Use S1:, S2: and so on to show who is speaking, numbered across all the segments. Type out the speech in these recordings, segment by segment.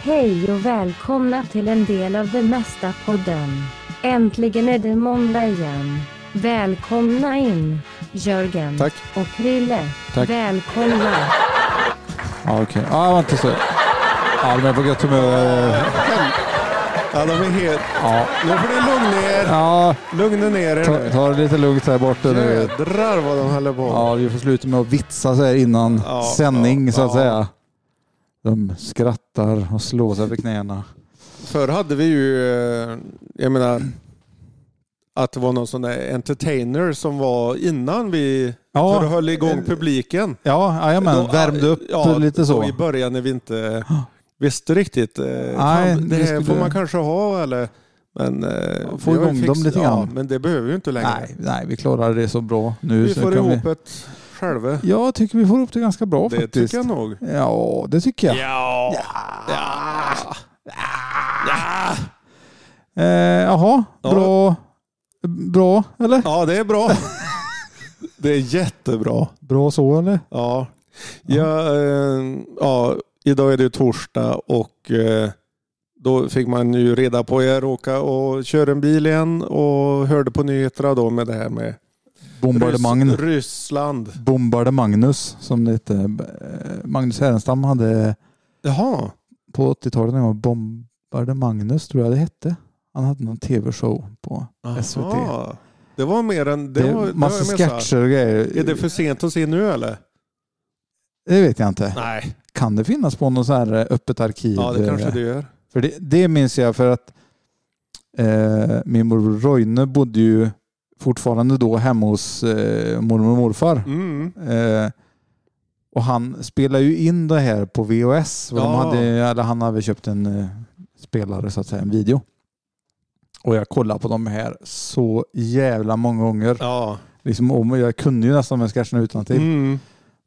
S1: Hej och välkomna till en del av det mesta podden. Äntligen är det måndag igen. Välkomna in, Jörgen
S2: Tack.
S1: och Krille.
S2: Tack.
S1: Välkomna.
S2: Ja, okej. Ja, ah, vänta så. Ja, de är på gott humör. eh,
S3: Ja, de är helt...
S2: Ja,
S3: Nu får ni lugna er.
S2: ja
S3: Lugna ner er
S2: ta,
S3: nu.
S2: ta det lite lugnt här borta nu.
S3: Jädrar vad de håller på.
S2: Ja, vi får sluta med att vitsa så här innan
S3: Ja,
S2: sändning
S3: ja,
S2: så att
S3: ja.
S2: säga. De skrattar och slår sig för knäna.
S3: Förr hade vi ju, eh, jag menar, att det var någon sån där entertainer som var innan vi
S2: Ja.
S3: för att höll igång publiken.
S2: Ja, jajamän.
S3: Då-
S2: Värmde upp
S3: ja,
S2: lite
S3: då
S2: så.
S3: I början när vi inte visste riktigt. Nej,
S2: Nej,
S3: fan,
S2: det
S3: det här
S2: skulle-
S3: får man kanske ha eller... Men, eh,
S2: Få
S3: vi har ju
S2: igång dem lite
S3: Ja,
S2: grann.
S3: men det behöver vi inte längre.
S2: Nej, nej, vi klarar det så bra nu.
S3: vi
S2: så
S3: får
S2: kan
S3: ihop ett själva.
S2: Vi... Jag tycker vi får ihop det ganska bra
S3: Det
S2: faktiskt.
S3: tycker jag nog.
S2: Ja, det tycker jag.
S3: Ja. Ja. Ja.
S2: Eh, jaha,
S3: Ja.
S2: bra. Bra, eller?
S3: ja, det är bra. Det är jättebra.
S2: Bra så, eller?
S3: Ja. Ja, eh, ja, idag är det ju torsdag och eh, då fick man ju reda på jag råkade och kör en bil igen och hörde på nyheterna då med det här med
S2: Bombardemang.
S3: Rys- Ryssland.
S2: Bombardemangnus, som det hette. Eh, Magnus Härenstam hade
S3: Jaha.
S2: på 80-talet när jag var Bombardemangnus, tror jag det hette. Han hade någon tv-show på SVT.
S3: Aha. Det var mer än...
S2: Det
S3: Det
S2: är
S3: var,
S2: massa
S3: det var mer så här,
S2: sketcher och grejer.
S3: Är det för sent att se nu eller?
S2: Det vet jag inte.
S3: Nej.
S2: Kan det finnas på något så här eh, öppet arkiv?
S3: Ja, det kanske
S2: Eh,
S3: det gör.
S2: För det, det minns jag för att eh, min morbror Roine bodde ju fortfarande då hemma hos eh, mormor och morfar.
S3: Mm.
S2: Eh, och han spelade ju in det här på VHS. För De
S3: Ja.
S2: hade, eller han hade köpt en eh, spelare, så att säga, en video. Och jag kollade på de här så jävla många gånger.
S3: Ja.
S2: Liksom, om- jag kunde ju nästan de här sketcherna utantill.
S3: Mm.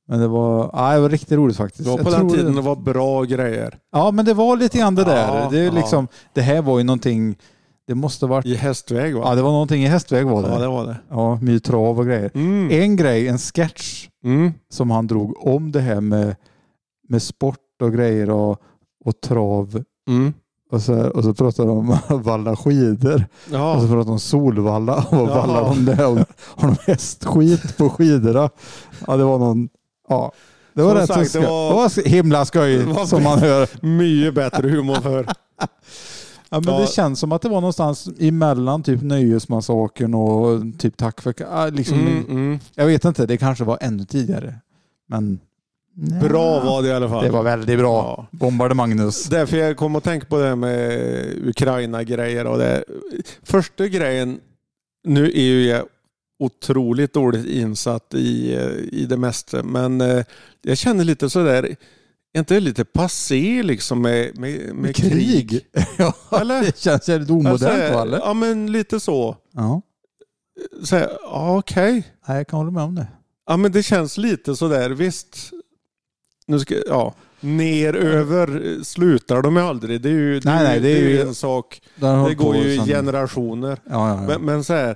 S2: Men det var, ja, det var riktigt roligt faktiskt.
S3: Det var
S2: Jag
S3: på den
S2: tror-
S3: tiden det var bra grejer.
S2: Ja, men det var lite grann det där.
S3: Ja,
S2: det, är
S3: ja.
S2: liksom, det här var ju någonting, det måste ha varit,
S3: I hästväg
S2: ja
S3: va?
S2: det var någonting i hästväg var det. Eh.
S3: Ja,
S2: Ja,
S3: det var det.
S2: mycket trav och grejer.
S3: Mm.
S2: En grej, en sketch
S3: Mm.
S2: som han drog om det här med, med sport och grejer och, och trav.
S3: Mm.
S2: Och så, här, och så pratade de om att valla skidor. Och så
S3: Ja.
S2: pratade de om Solvalla och vad
S3: Ja.
S2: vallar de där? Och Har de hästskit på skidorna? Ja, det var någon... Ja. Det var
S3: Som
S2: rätt
S3: sagt,
S2: så
S3: det
S2: skoj.
S3: var-
S2: Det var så himla skoj
S3: Det var-
S2: som man hör.
S3: Mycket bättre humor för.
S2: Ja, men
S3: Ja.
S2: Det känns som att det var någonstans emellan typ Nöjesmassakern och typ Tack för ah, liksom,
S3: Mm, mm.
S2: Jag vet inte, det kanske var ännu tidigare. Men
S3: Bra var det i alla fall.
S2: det var väldigt bra.
S3: Ja.
S2: Bombardemangnus.
S3: Därför jag kom att tänka på det här med Ukraina-grejer och det. Första grejen, nu är ju jag otroligt dåligt insatt i, eh, i det mesta, men eh, jag känner lite sådär, är inte det lite passé liksom med, med, med krig?
S2: ja,
S3: Eller? Alltså,
S2: det känns jävligt omodernt va? Eller?
S3: Ja men lite så.
S2: Ja.
S3: så här, ja, Okej.
S2: Nej, jag kan hålla med om det.
S3: Ja men det känns lite sådär visst. Nu ska, ja. Ner över eh, slutar de ju aldrig. Det är ju, det
S2: Nej, nej, det är ju-
S3: en sak.
S2: Där har
S3: Det
S2: jag hållit
S3: går
S2: på
S3: ju i
S2: sen-
S3: generationer.
S2: Ja, ja, ja.
S3: Men, men så här.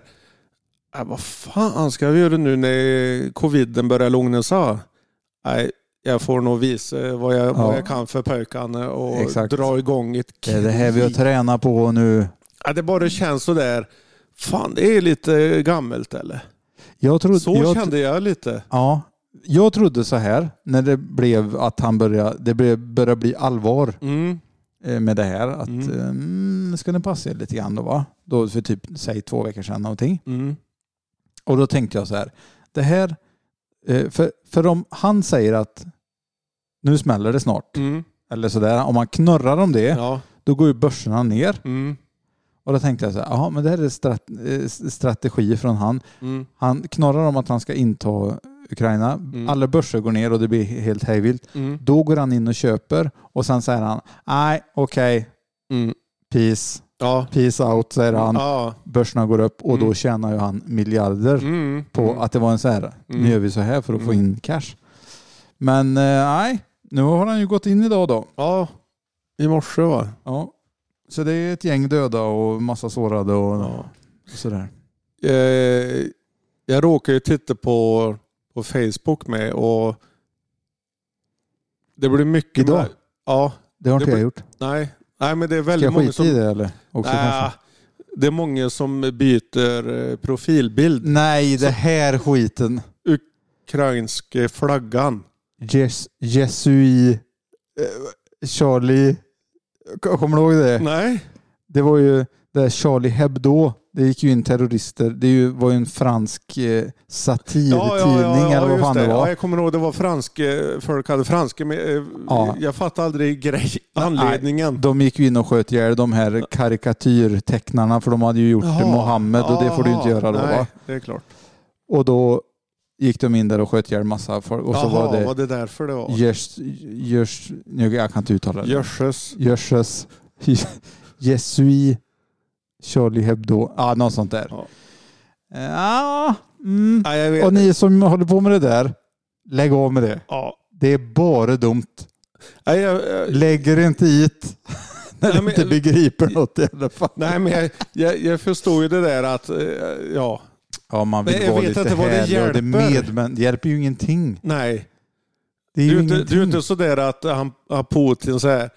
S3: Ja, vad fan ska vi göra nu när coviden börjar lugna sig? Nej, jag får nog visa vad jag,
S2: Ja.
S3: vad jag kan för pojkarna och
S2: Exakt.
S3: dra igång ett
S2: det är det här vi har
S3: krig.
S2: tränat på nu.
S3: ja, Det bara känns sådär. Fan, det är lite gammalt eller?
S2: Jag trodde,
S3: Så
S2: jag,
S3: kände jag lite.
S2: ja, jag trodde så här när det blev att han började, det blev- började bli allvar.
S3: Mm.
S2: eh, med det här. Att
S3: Mm.
S2: eh, mm. ska ni passa er lite grann då va? Då för typ säg två veckor sedan någonting.
S3: Mm.
S2: Och då tänkte jag så här. Det här, eh, för, för om han säger att nu smäller det snart.
S3: Mm.
S2: Eller sådär. Om man knorrar om det,
S3: Ja.
S2: då går ju börserna ner.
S3: Mm.
S2: Och då tänkte jag så här, jaha men det här är strat, eh, s- strategi från han.
S3: Mm.
S2: Han knorrar om att han ska inta Ukraina.
S3: Mm.
S2: Alla börser går ner och det blir helt hejvilt.
S3: Mm.
S2: Då går han in och köper och sen säger han, nej okej,
S3: Mm.
S2: peace,
S3: Ja.
S2: peace out säger han.
S3: Ja.
S2: börserna går upp och då
S3: Mm.
S2: tjänar ju han miljarder
S3: Mm.
S2: på
S3: Mm.
S2: att det var en så här, nu
S3: Mm.
S2: gör vi så här för att få
S3: Mm.
S2: in cash. Men eh, nej, nu har han ju gått in idag då.
S3: Ja. I morse va?
S2: Ja. Så det är ett gäng döda och massa sårade och,
S3: Ja.
S2: och sådär.
S3: Eh, jag råkar ju titta på, på Facebook med och det blir mycket...
S2: Idag?
S3: Ja.
S2: Det har inte
S3: Det
S2: jag
S3: blir-
S2: gjort.
S3: Nej, nej men det är
S2: Ska
S3: väldigt
S2: jag
S3: många
S2: skita i
S3: som...
S2: det eller? Också,
S3: Nej,
S2: kanske?
S3: det är många som byter eh, profilbild.
S2: Nej, det här skiten.
S3: Ukrainska flaggan.
S2: Jes, Jesui... eh, Charlie... K- Kommer du ihåg det?
S3: Nej,
S2: Det var ju där Charlie Hebdo. Det gick ju in terrorister. Det är ju- var ju en fransk eh, satirtidning eller vad
S3: just
S2: fan det, var.
S3: Ja, jag kommer ihåg det var fransk, eh, folk hade franska men eh,
S2: Ja.
S3: jag fattade aldrig grej, anledningen.
S2: De gick ju in och sköt ihjäl de här karikatyrtecknarna för de hade ju gjort
S3: Jaha.
S2: Mohammed och det får du inte
S3: Jaha,
S2: göra då
S3: Nej,
S2: va?
S3: det är klart.
S2: Och då gick de in där och sköt ihjäl massa folk och så
S3: Jaha,
S2: var det
S3: var det därför det var?
S2: Görs... Görs... nu- Jag kan inte uttala det.
S3: Jösses.
S2: Görses... Jesui... Charlie Hebdo. Ja, något sånt där.
S3: Ja.
S2: Ja. Mm.
S3: Nej, jag vet.
S2: Och ni som håller på med det där, lägg av med det.
S3: Ja.
S2: Det är bara dumt.
S3: Nej, jag, eh, jag,
S2: Lägger inte hit när
S3: Nej,
S2: du
S3: men-
S2: inte begriper något i alla fall.
S3: nej, men jag, jag, jag förstår ju det där att, eh, ja,
S2: Ja, man
S3: Men
S2: vill
S3: jag
S2: vara
S3: vet
S2: lite
S3: inte vad det
S2: härlig och det
S3: hjälper.
S2: med, men det hjälper ju ingenting.
S3: nej.
S2: Det är ju
S3: Det är ju inte, det är
S2: ingenting.
S3: ju inte sådär att han, han Putin säger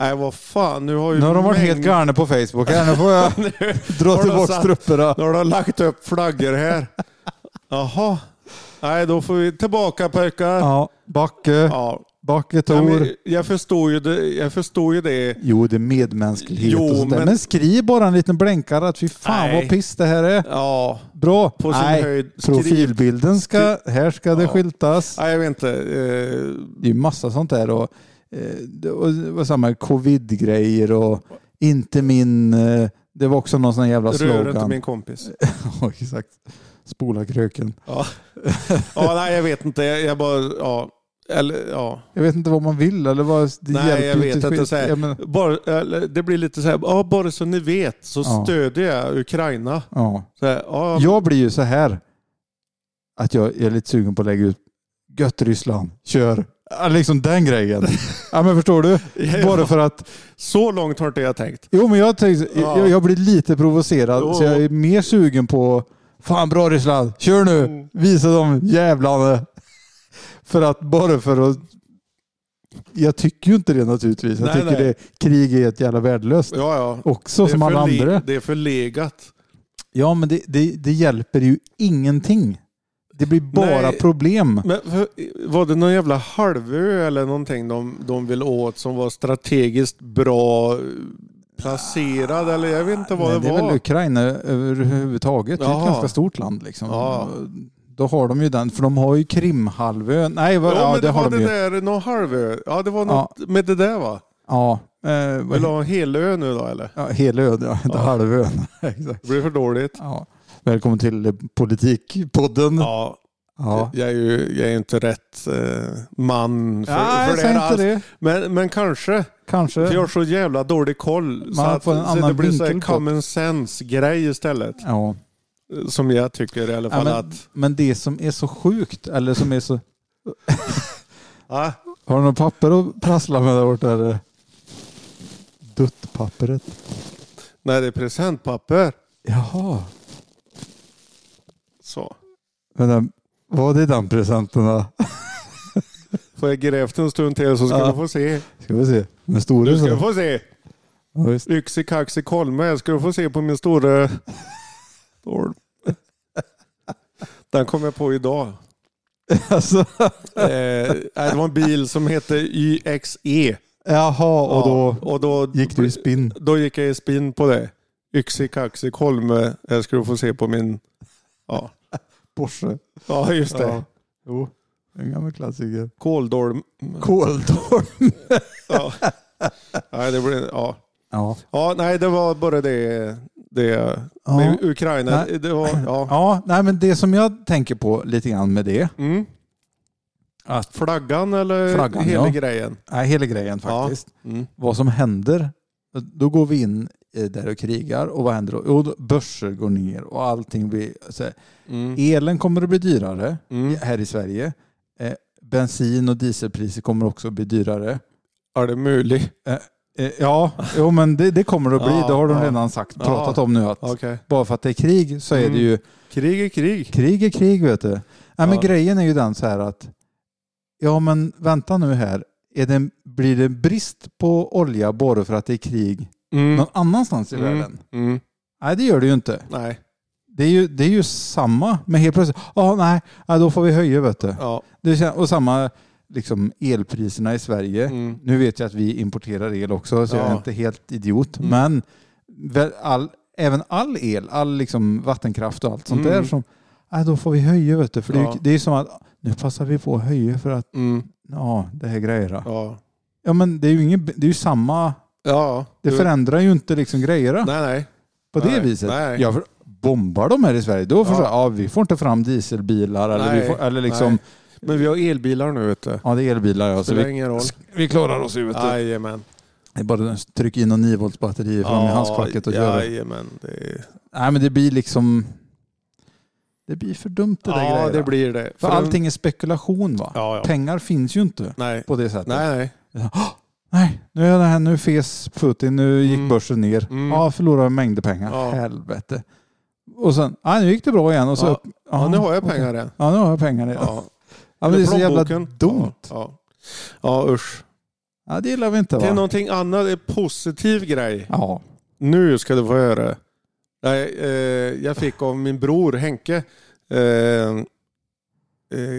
S3: nej vad fan nu har ju
S2: nu har de varit
S3: mängd-
S2: helt galna på Facebook. Här, nu får jag dra
S3: har de
S2: tillbaka
S3: satt-
S2: trupperna.
S3: nu har de lagt upp flaggor här. Jaha, nej då får vi tillbaka pojkar. Ja.
S2: Ja, Backe, Backe
S3: Nej,
S2: Tor.
S3: men jag förstår ju det. Jag förstår ju det.
S2: Jo, det är medmänsklighet
S3: Jo,
S2: och sånt där.
S3: men-
S2: Men skriv bara en liten blänkare att fy fan
S3: Nej.
S2: vad piss det här är.
S3: Ja,
S2: Bra.
S3: på sin
S2: Nej,
S3: höjd. Skriv.
S2: profilbilden ska, här ska det
S3: Ja.
S2: skyltas.
S3: Nej, jag vet inte. Eh,
S2: Det är ju massa sånt där och, eh, det- och, det var samma covid-grejer och inte min... eh, Det var också någon sån här jävla slogan.
S3: rör inte min kompis.
S2: Ja, exakt. Spola kröken.
S3: Ja. ja, nej jag vet inte. Jag, jag bara, ja. Eller, ja.
S2: Jag vet inte vad man vill eller vad... Det
S3: Nej,
S2: hjälper
S3: jag
S2: ju
S3: vet
S2: ett
S3: att det
S2: skit.
S3: är så här.
S2: Jag menar-
S3: Bara, eller, det blir lite så här, ja, bara så ni vet så
S2: Ja.
S3: stödjer jag Ukraina.
S2: ja.
S3: Så här, ja,
S2: Jag blir ju så här att jag är lite sugen på att lägga ut Gött Ryssland, kör! Ja, Liksom den grejen. Ja men förstår du?
S3: Ja.
S2: Bara för att...
S3: Så långt har inte jag tänkt.
S2: Jo men jag, tänkte,
S3: Ja.
S2: jag, jag blir lite provocerad
S3: Jo.
S2: så jag är mer sugen på Fan bra Ryssland, kör nu!
S3: Mm.
S2: Visa de jävlarna! För att bara för att... Jag tycker ju inte det naturligtvis. Jag
S3: Nej,
S2: tycker
S3: nej.
S2: det krig är ett jävla värdelöst.
S3: Ja, ja.
S2: Också
S3: Det är
S2: som alla
S3: förle-
S2: andra.
S3: Det är förlegat.
S2: Ja, men det, det, det hjälper ju ingenting. Det blir bara
S3: Nej.
S2: problem.
S3: Men för, var det någon jävla halvö eller någonting de, de ville åt som var strategiskt bra eh, placerad? Eller jag vet inte vad
S2: Men
S3: det,
S2: det är
S3: var.
S2: väl Ukraina överhuvudtaget. Det är ett
S3: Jaha.
S2: ganska stort land liksom.
S3: Ja.
S2: Då har de ju den, för de har ju Krimhalvön. Nej, vad,
S3: Ja,
S2: ja,
S3: men
S2: det,
S3: det
S2: har
S3: var
S2: de
S3: det
S2: ju.
S3: där, någon halvö. Ja, det var något med det där va?
S2: Ja, eh,
S3: Vill du
S2: vad,
S3: ha en hel ö nu då eller?
S2: ja, Helöd, ja. Inte
S3: Ja.
S2: halvön. Exakt.
S3: Det blir för dåligt.
S2: Ja. Välkommen till eh, Politikpodden. Ja. Ja.
S3: Ja, Jag, är ju, jag är ju inte rätt eh, man för,
S2: Nej,
S3: för
S2: jag säger inte
S3: alls.
S2: det.
S3: Men, men kanske.
S2: Kanske.
S3: För jag har så jävla dålig koll. så
S2: har
S3: att,
S2: fått en
S3: så
S2: annan
S3: det blir så här
S2: vinkel på det.
S3: common sense-grej istället.
S2: Ja.
S3: Som jag tycker i alla
S2: Ja,
S3: fall
S2: men,
S3: att...
S2: men det som är så sjukt, eller som är så
S3: Ja,
S2: Har du något papper att prassla med där borta? eller? Duttpappret.
S3: nej, det är presentpapper.
S2: Jaha.
S3: Så.
S2: Men den, vad är den presenten då?
S3: Får jag grävt en stund till så ska
S2: Ja.
S3: du få se.
S2: Ska vi se. Med stora
S3: Du ska
S2: så.
S3: få se.
S2: Ja, visst.
S3: Yxi, kaxi, kolme. Ska du få se på min stora... Den kom jag på idag.
S2: Alltså,
S3: Eh, nej, det var en bil som hette YXE.
S2: jaha, och då
S3: Ja, E. och då
S2: gick du i spinn.
S3: Då gick jag i spinn på det. Yxi, kaxi, kolme. Jag skulle få se på min... Ja,
S2: Porsche.
S3: ja just det.
S2: Ja. Jo, en gammal klassiker.
S3: Kåldolm.
S2: Kåldolm.
S3: Ja. Nej, det blir, ja.
S2: Ja.
S3: ja, nej, det var bara det. det
S2: Ja.
S3: med Ukraina.
S2: Nej.
S3: Det var, ja.
S2: ja, nej men det som jag tänker på lite grann med det.
S3: Mm.
S2: Att-
S3: Flaggan eller
S2: Flaggan,
S3: hela
S2: ja.
S3: grejen?
S2: Nej, hela grejen faktiskt.
S3: Mm.
S2: vad som händer. Då går vi in eh, där och krigar och vad händer då? Jo, då börser går ner och allting blir... Så här,
S3: Mm.
S2: elen kommer att bli dyrare
S3: Mm.
S2: här i Sverige. Eh, bensin och dieselpriser kommer också att bli dyrare.
S3: Är det möjligt?
S2: Eh, ja, jo, men det, det kommer att bli.
S3: Ja,
S2: det har de
S3: ja.
S2: redan sagt,
S3: Ja.
S2: pratat om nu. att
S3: Okej.
S2: Bara för att det är krig så är
S3: Mm.
S2: det ju...
S3: Krig är krig.
S2: Krig är krig, vet du. Nej, men
S3: Ja.
S2: grejen är ju den så här att... Ja, men vänta nu här. är det, en- blir det brist på olja bara för att det är krig
S3: Mm.
S2: någon annanstans i världen?
S3: Mm.
S2: Nej, det gör det ju inte.
S3: Nej,
S2: Det är ju, det är ju samma, men helt plötsligt, ja nej, ja, då får vi höja vet du.
S3: ja.
S2: Det kän- och samma liksom, elpriserna i Sverige.
S3: Mm.
S2: Nu vet jag att vi importerar el också, så jag är
S3: Ja.
S2: inte helt idiot.
S3: Mm.
S2: Men väl all, även all el, all liksom vattenkraft och allt sånt
S3: Mm.
S2: där, som, nej, då får vi höja vet du. För det, är ju-
S3: Ja.
S2: det är ju som att nu passar vi på att höja för att
S3: Mm.
S2: ja, det här grejer. Ja.
S3: Ja.
S2: ja men det är ju, ingen, det är ju samma,
S3: Ja.
S2: det
S3: Du-
S2: förändrar ju inte liksom grejerna.
S3: Nej, nej.
S2: På det
S3: Mm. Nej,
S2: viset.
S3: nej.
S2: Jag för, bombar de här i Sverige, då förstår jag, ja, vi får inte fram dieselbilar eller,
S3: Nej,
S2: vi får, eller liksom,
S3: nej. Men vi har elbilar nu vet du.
S2: ja det är elbilar ja, så
S3: Spelar
S2: vi,
S3: ingen roll.
S2: vi klarar oss ut.
S3: Jajamän.
S2: Det är bara att trycka in en 9 volts batteri fram i handskfacket och göra.
S3: Jajamän. Det, är...
S2: Nej men det blir liksom, det blir för dumt det där
S3: ja,
S2: grejerna.
S3: det blir det.
S2: För
S3: en-
S2: allting är spekulation va?
S3: Ja, ja.
S2: Pengar finns ju inte
S3: Nej.
S2: på det sättet.
S3: Nej, nej.
S2: Nej, nu är det här, nu fes Putin, nu gick
S3: Mm.
S2: börsen ner.
S3: Mm.
S2: Ja, förlorade mängder pengar.
S3: Ja.
S2: Helvete. Och sen, ja, nu gick det bra igen och så
S3: Ja.
S2: upp.
S3: Ja, nu har jag
S2: okej.
S3: pengar än.
S2: Ja, nu har jag pengar igen. Ja,
S3: Ja.
S2: men det är så jävla
S3: Plånboken.
S2: dumt. Ja.
S3: Ja, ja. ja usch.
S2: det gillar vi inte va?
S3: Det är någonting annat, det är en positiv grej.
S2: Ja.
S3: Nu ska du få höra. det. Nej, eh, jag fick av min bror Henke eh, eh,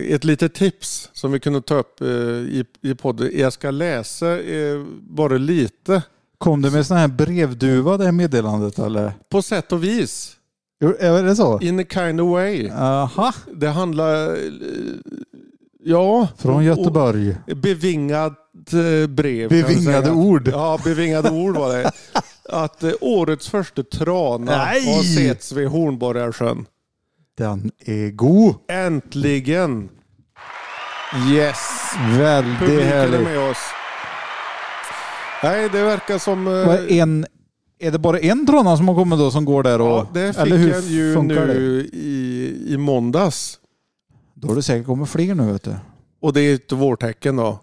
S3: ett litet tips som vi kunde ta upp eh, i, i podden. Jag ska läsa eh, bara lite.
S2: Kom du med sån här brevduva det här meddelandet eller?
S3: På sätt och vis.
S2: Jo, Är det så?
S3: In a kind of way.
S2: Aha,
S3: Det handlar... eh, Ja.
S2: från Göteborg.
S3: Och bevingat eh, brev. Oh. kan man
S2: Bevingade
S3: säga.
S2: ord.
S3: Ja, bevingade ord var det. Att eh, årets första trana
S2: Nej!
S3: har setts vid Hornborgarsjön.
S2: Den är god.
S3: Äntligen! Yes!
S2: Väldigt
S3: Publiken är
S2: härlig.
S3: med oss. Nej, det verkar som... eh,
S2: Vad är En, är det bara en trana som har kommit då som går där? Och,
S3: ja, det fick
S2: eller hur
S3: jag ju
S2: funkar det?
S3: nu i, i måndags.
S2: Då har det säkert kommit fler nu vet du.
S3: Och det är ett vårtecken då.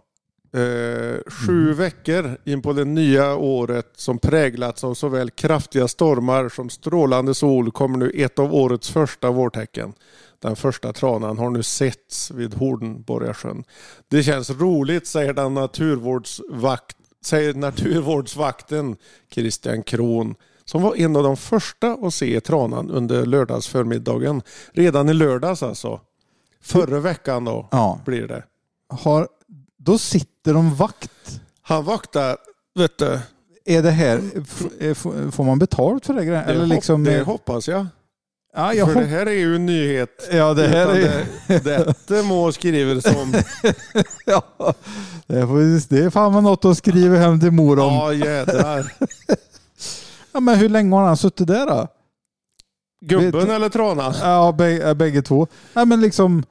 S3: Eh, sju veckor in på det nya året som präglats av såväl kraftiga stormar som strålande sol kommer nu ett av årets första vårtecken. Den första tranan har nu setts vid Hornborgasjön. Det känns roligt säger, den naturvårdsvakt, säger naturvårdsvakten Christian Kron som var en av de första att se tranan under lördagsförmiddagen. Redan i lördags alltså. Förra veckan då
S2: Ja.
S3: blir det.
S2: Har, då sitter de vakt.
S3: Han vaktar, vet du.
S2: Är det här, f- är- f- får man betalt för det? här grejen? Eller
S3: det,
S2: liksom,
S3: hop, det hoppas jag.
S2: ja, jag
S3: För
S2: hopp,
S3: det här är ju en nyhet.
S2: ja, det här
S3: Utan
S2: är,
S3: det, detta må skriver som...
S2: ja, det, är faktiskt- det är fan vad något att skriva hem till mor om. Ja.
S3: Ja jädrar.
S2: men hur länge har han suttit där då? Vet
S3: Gubben
S2: du-
S3: eller tranan?
S2: Ja, bäg- ja, bägge två. Nej, men liksom,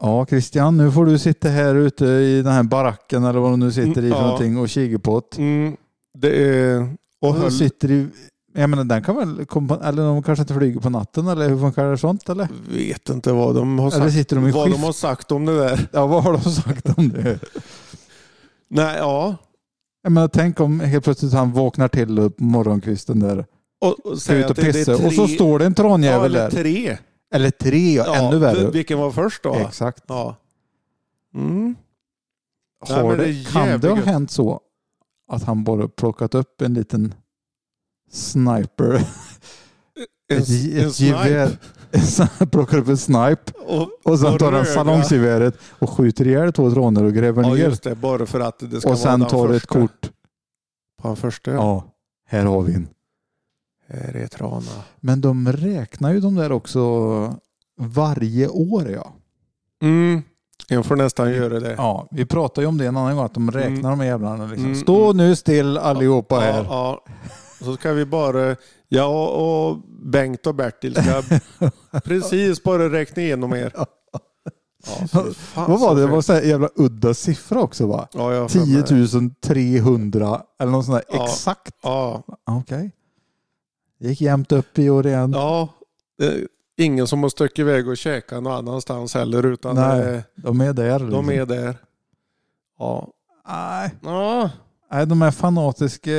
S2: ja Christian, nu får du sitta här ute i den här baracken eller vad du nu sitter i för
S3: Mm, Ja.
S2: någonting och kika på det.
S3: Mm, det är... Och
S2: Och
S3: höll,
S2: sitter i, jag menar den kan väl komma, eller de kanske inte flyger på natten eller hur funkar det sånt eller?
S3: vet inte vad de har
S2: Eller
S3: sagt.
S2: sitter de i
S3: Vad
S2: skift?
S3: de har sagt om det där.
S2: Ja, vad har de sagt om det?
S3: Nej, ja.
S2: Jag menar, tänk om helt plötsligt han vaknar till upp på morgonkvisten där.
S3: Och, och
S2: Ska
S3: säga
S2: ut
S3: att
S2: och
S3: det, det är
S2: pissa
S3: tre,
S2: och så står det en
S3: ja,
S2: tranjävel
S3: eller
S2: där.
S3: tre.
S2: Eller tre, ja, ännu
S3: vil-
S2: värre.
S3: Vilken var först då?
S2: Exakt.
S3: Ja. Mm. Nej,
S2: Har
S3: men det
S2: det,
S3: är
S2: kan det ha
S3: jävligt gött.
S2: hänt så att han bara plockat upp en liten sniper?
S3: En,
S2: Ett,
S3: en,
S2: ett
S3: snipe.
S2: gevär. Plockar upp en snipe
S3: Och,
S2: och sen
S3: Och
S2: tar han
S3: röra.
S2: salongsgeväret och skjuter ihjäl två tranor och gräver
S3: ja,
S2: ner.
S3: just det. Bara för att det ska
S2: Och
S3: vara
S2: sen
S3: den
S2: tar ett
S3: första.
S2: kort.
S3: På den första ja. Eh,
S2: Ja, här har vi en.
S3: Här är trana.
S2: Men de räknar ju de där också varje år ja.
S3: Mm. Jag får nästan göra det.
S2: Mm. Ja, vi pratade ju om det en annan gång, att de räknar de här jävlarna. Liksom.
S3: Mm,
S2: Stå nu still allihopa
S3: ja,
S2: här.
S3: ja. Så ska vi bara, jag och, och Bengt och Bertil ska precis bara räkna igenom er. Ja, fy fan,
S2: Vad var det? Det
S3: så
S2: var så här jävla udda siffra också va?
S3: Ja, jag har för mig
S2: 10
S3: det.
S2: 300 eller något sånt där
S3: Ja.
S2: exakt. Ah,
S3: Ja,
S2: Okej. Det gick jämnt upp i år igen.
S3: ja. Det är ingen som har stuckit iväg och käkat någon annanstans heller utan
S2: Nej.
S3: eh,
S2: De är där.
S3: de
S2: liksom.
S3: är där. Ja.
S2: Nej.
S3: ja.
S2: Nej, de är fanatiska.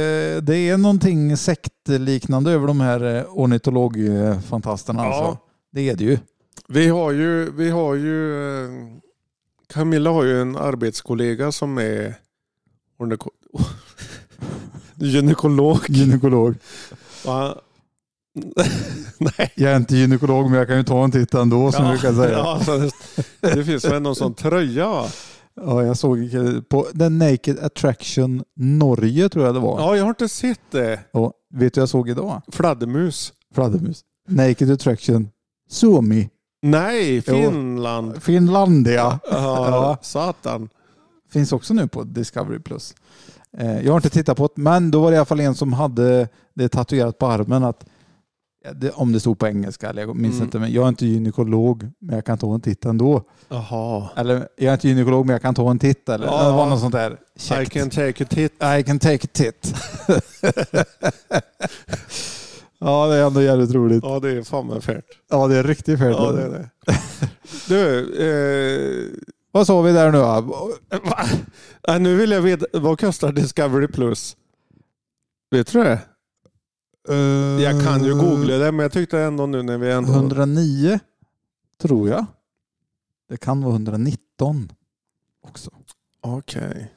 S2: Det är någonting sektliknande över de här eh, ornitologfantasterna.
S3: Ja.
S2: Alltså. Det är det ju.
S3: Vi har ju, vi har ju eh, Camilla har ju en arbetskollega som är orneko- gynekolog.
S2: Gynekolog.
S3: Och han... Nej.
S2: Jag är inte gynekolog men jag kan ju ta en titt ändå som vi kan säga. Ja.
S3: Ja, så det, det finns väl någon sån tröja va?
S2: jag såg på The Naked Attraction Norge tror jag det var.
S3: Ja, jag har inte sett det.
S2: Och vet du vad jag såg idag?
S3: Fladdermus.
S2: Fladdermus. Naked Attraction Suomi.
S3: Nej,
S2: Jo.
S3: Finland.
S2: Finlandia.
S3: Ja,
S2: Ja.
S3: satan.
S2: Finns också nu på Discovery+. Plus. Eh, jag har inte tittat på det men då var det i alla fall en som hade det tatuerat på armen att ja, det, om det stod på engelska, eller jag minns
S3: Mm.
S2: inte, men jag är inte gynekolog men jag kan ta en titt ändå.
S3: Jaha.
S2: Eller jag är inte gynekolog men jag kan ta en titt eller
S3: Ja.
S2: det var något sånt där.
S3: I
S2: Käckt.
S3: can take a hit.
S2: I can take a tit. ja, det är ändå jävligt roligt.
S3: Ja, det är fan med färt.
S2: Ja, det är riktigt fel.
S3: Ja, det är det. Du, eh,
S2: Vad sa vi där nu? då?
S3: va? Nej, nu vill jag veta, vad kostar Discovery Plus? Vet du det?
S2: Eh,
S3: Jag kan ju googla det, men jag tyckte ändå nu när vi ändå...
S2: 109 tror jag. Det kan vara 119 också.
S3: Okej.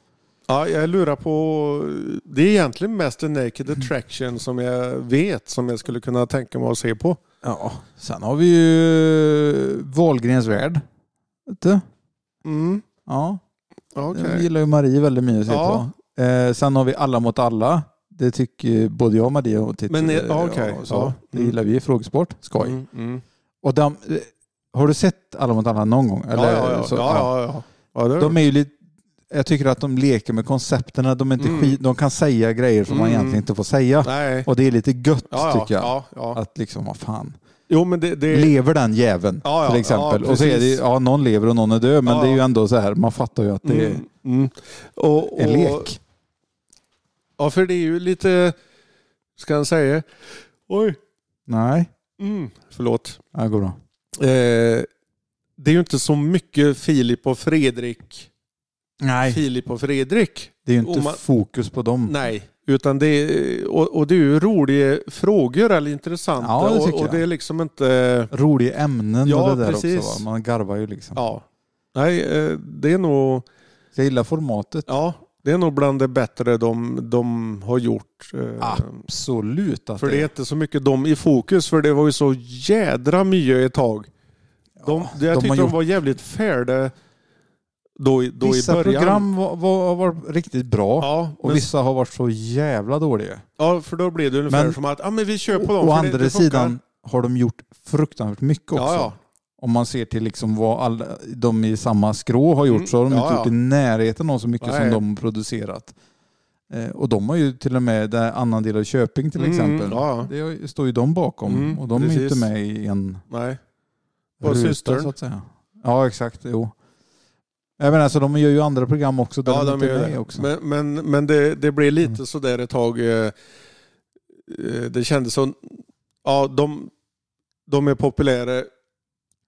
S3: Ja, jag lurar på... Det är egentligen mest The Naked
S2: Mm.
S3: Attraction som jag vet som jag skulle kunna tänka mig att se på.
S2: Ja, sen har vi ju Wahlgrens värld. Vet du?
S3: Mm.
S2: Ja,
S3: Okej.
S2: den gillar ju Marie väldigt mycket.
S3: Ja.
S2: Ja. Eh, sen har vi Alla mot alla. Det tycker både jag och Marie och tittar
S3: Men är- ja, okej.
S2: så.
S3: Ja.
S2: Det
S3: Mm.
S2: gillar vi i frågesport. Skoj.
S3: Mm, mm.
S2: Och de, eh, har du sett Alla mot alla någon gång?
S3: Ja,
S2: Eller
S3: ja, ja.
S2: så-
S3: ja, ja, ja. ja det...
S2: De är ju lite, jag tycker att de leker med koncepterna. De, är inte
S3: Mm.
S2: skit, de kan säga grejer som man
S3: Mm.
S2: egentligen inte får säga.
S3: Nej.
S2: Och det är lite gött
S3: Ja, ja,
S2: tycker jag.
S3: ja, ja.
S2: Att liksom, vad fan.
S3: Jo, men det... det...
S2: Lever den jäveln
S3: Ja, ja,
S2: till
S3: ja,
S2: exempel?
S3: precis.
S2: och så är det, ja någon lever och någon är död. Men
S3: Ja,
S2: det är ju
S3: ja.
S2: ändå så här, man fattar ju att det
S3: Mm, mm. Och, och,
S2: är en lek.
S3: Ja, för det är ju lite... Ska jag säga? Oj.
S2: Nej,
S3: Mm. Förlåt.
S2: ja, det går bra.
S3: Eh, det är ju inte så mycket Filip och Fredrik.
S2: Nej, Mm.
S3: Filip och Fredrik.
S2: det är ju inte
S3: och man-
S2: fokus på dem.
S3: Nej, utan det är, och, och det är ju roliga frågor eller intressanta.
S2: Ja, det tycker
S3: och, och
S2: jag.
S3: det är liksom inte...
S2: Roliga ämnen
S3: Ja,
S2: och det där
S3: precis.
S2: också. Va? Man garvar ju liksom.
S3: Ja. Nej, eh, det är nog...
S2: Jag gillar formatet.
S3: Ja, det är nog bland det bättre de, de har gjort. eh,
S2: Ah, Absolut att
S3: För det är inte så mycket de i fokus, för det var ju så jädra mycket ett tag. De,
S2: Ja,
S3: jag
S2: de
S3: tyckte
S2: har
S3: de
S2: gjort-
S3: var jävligt färdiga då, i- då i
S2: Vissa
S3: början.
S2: program var, var, har varit riktigt bra.
S3: Ja,
S2: Och
S3: men,
S2: vissa har varit så jävla dåliga.
S3: ja, för då blev det ungefär
S2: Men-
S3: som att ah, men vi kör på dem.
S2: Å
S3: för det-
S2: andra
S3: det funkar."
S2: sidan har de gjort fruktansvärt mycket också.
S3: Ja, ja.
S2: Om man ser till liksom vad alla, de i samma skrå har gjort
S3: Mm,
S2: så har de
S3: ja,
S2: inte gjort
S3: ja.
S2: i närheten av så mycket
S3: Nej.
S2: som de har producerat. Eh, och de har ju till och med där annan del av Köping till
S3: Mm,
S2: exempel.
S3: ja.
S2: Det har ju- står ju de bakom
S3: Mm,
S2: och de är
S3: precis.
S2: inte med i en
S3: Nej. Bara
S2: ruta
S3: systern.
S2: så att säga. Ja exakt, jo. Jag menar, så de gör ju andra program också där
S3: Ja,
S2: de
S3: de
S2: inte är
S3: gör
S2: med
S3: det.
S2: också.
S3: Men, men, men det, det blev lite
S2: Mm.
S3: sådär ett tag. eh, eh, Det kändes som, ja de, de är populära,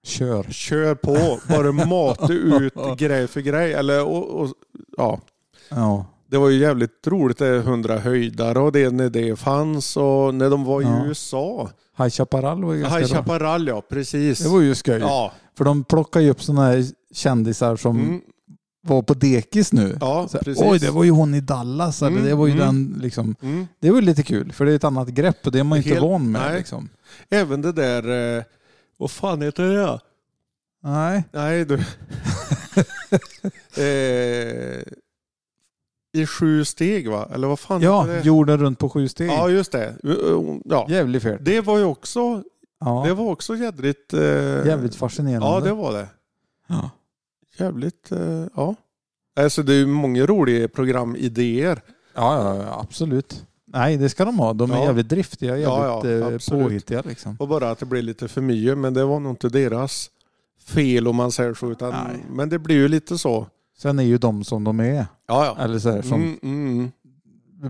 S2: Kör.
S3: kör på, bara mata ut grej för grej. Eller, och, och, ja.
S2: Ja.
S3: Det var ju jävligt roligt det hundra höjdare och det när det fanns och när de var i
S2: Ja.
S3: USA.
S2: High Chaparral var ju ganska
S3: High
S2: bra.
S3: Chaparral ja, precis.
S2: Det var ju skoj.
S3: ja.
S2: För de plockar ju upp sådana här kändisar som
S3: Mm.
S2: var på dekis nu.
S3: ja,
S2: Så här,
S3: precis.
S2: Oj, det var ju hon i Dallas. Eller
S3: Mm,
S2: det var ju
S3: mm.
S2: den liksom.
S3: mm.
S2: Det var ju lite kul, för det är ett annat grepp och det är man ju inte
S3: Helt-
S2: van med.
S3: nej.
S2: Nej. Liksom.
S3: Även det där, eh, vad fan heter det?
S2: nej.
S3: Nej du. eh, I sju steg va? Eller vad fan heter
S2: Ja,
S3: det?
S2: jorden runt på sju steg.
S3: Ja just det. Ja.
S2: Jävligt fett.
S3: Det var ju också,
S2: Ja.
S3: det var också jädrigt... Eh,
S2: Jävligt fascinerande.
S3: Ja det var det.
S2: Ja.
S3: Jävligt, eh, ja. Alltså det är ju många roliga programidéer.
S2: Ja, ja, ja, absolut. Nej, det ska de ha. De är
S3: Ja.
S2: jävligt driftiga,
S3: Ja,
S2: jävligt
S3: ja,
S2: eh,
S3: absolut.
S2: påhittiga. Liksom.
S3: Och bara att det blir lite för mycket men det var nog inte deras fel om man säger så. Utan,
S2: Nej.
S3: men det blir ju lite så.
S2: Sen är ju de som de är.
S3: Ja ja.
S2: Eller så här, som
S3: Mm, mm.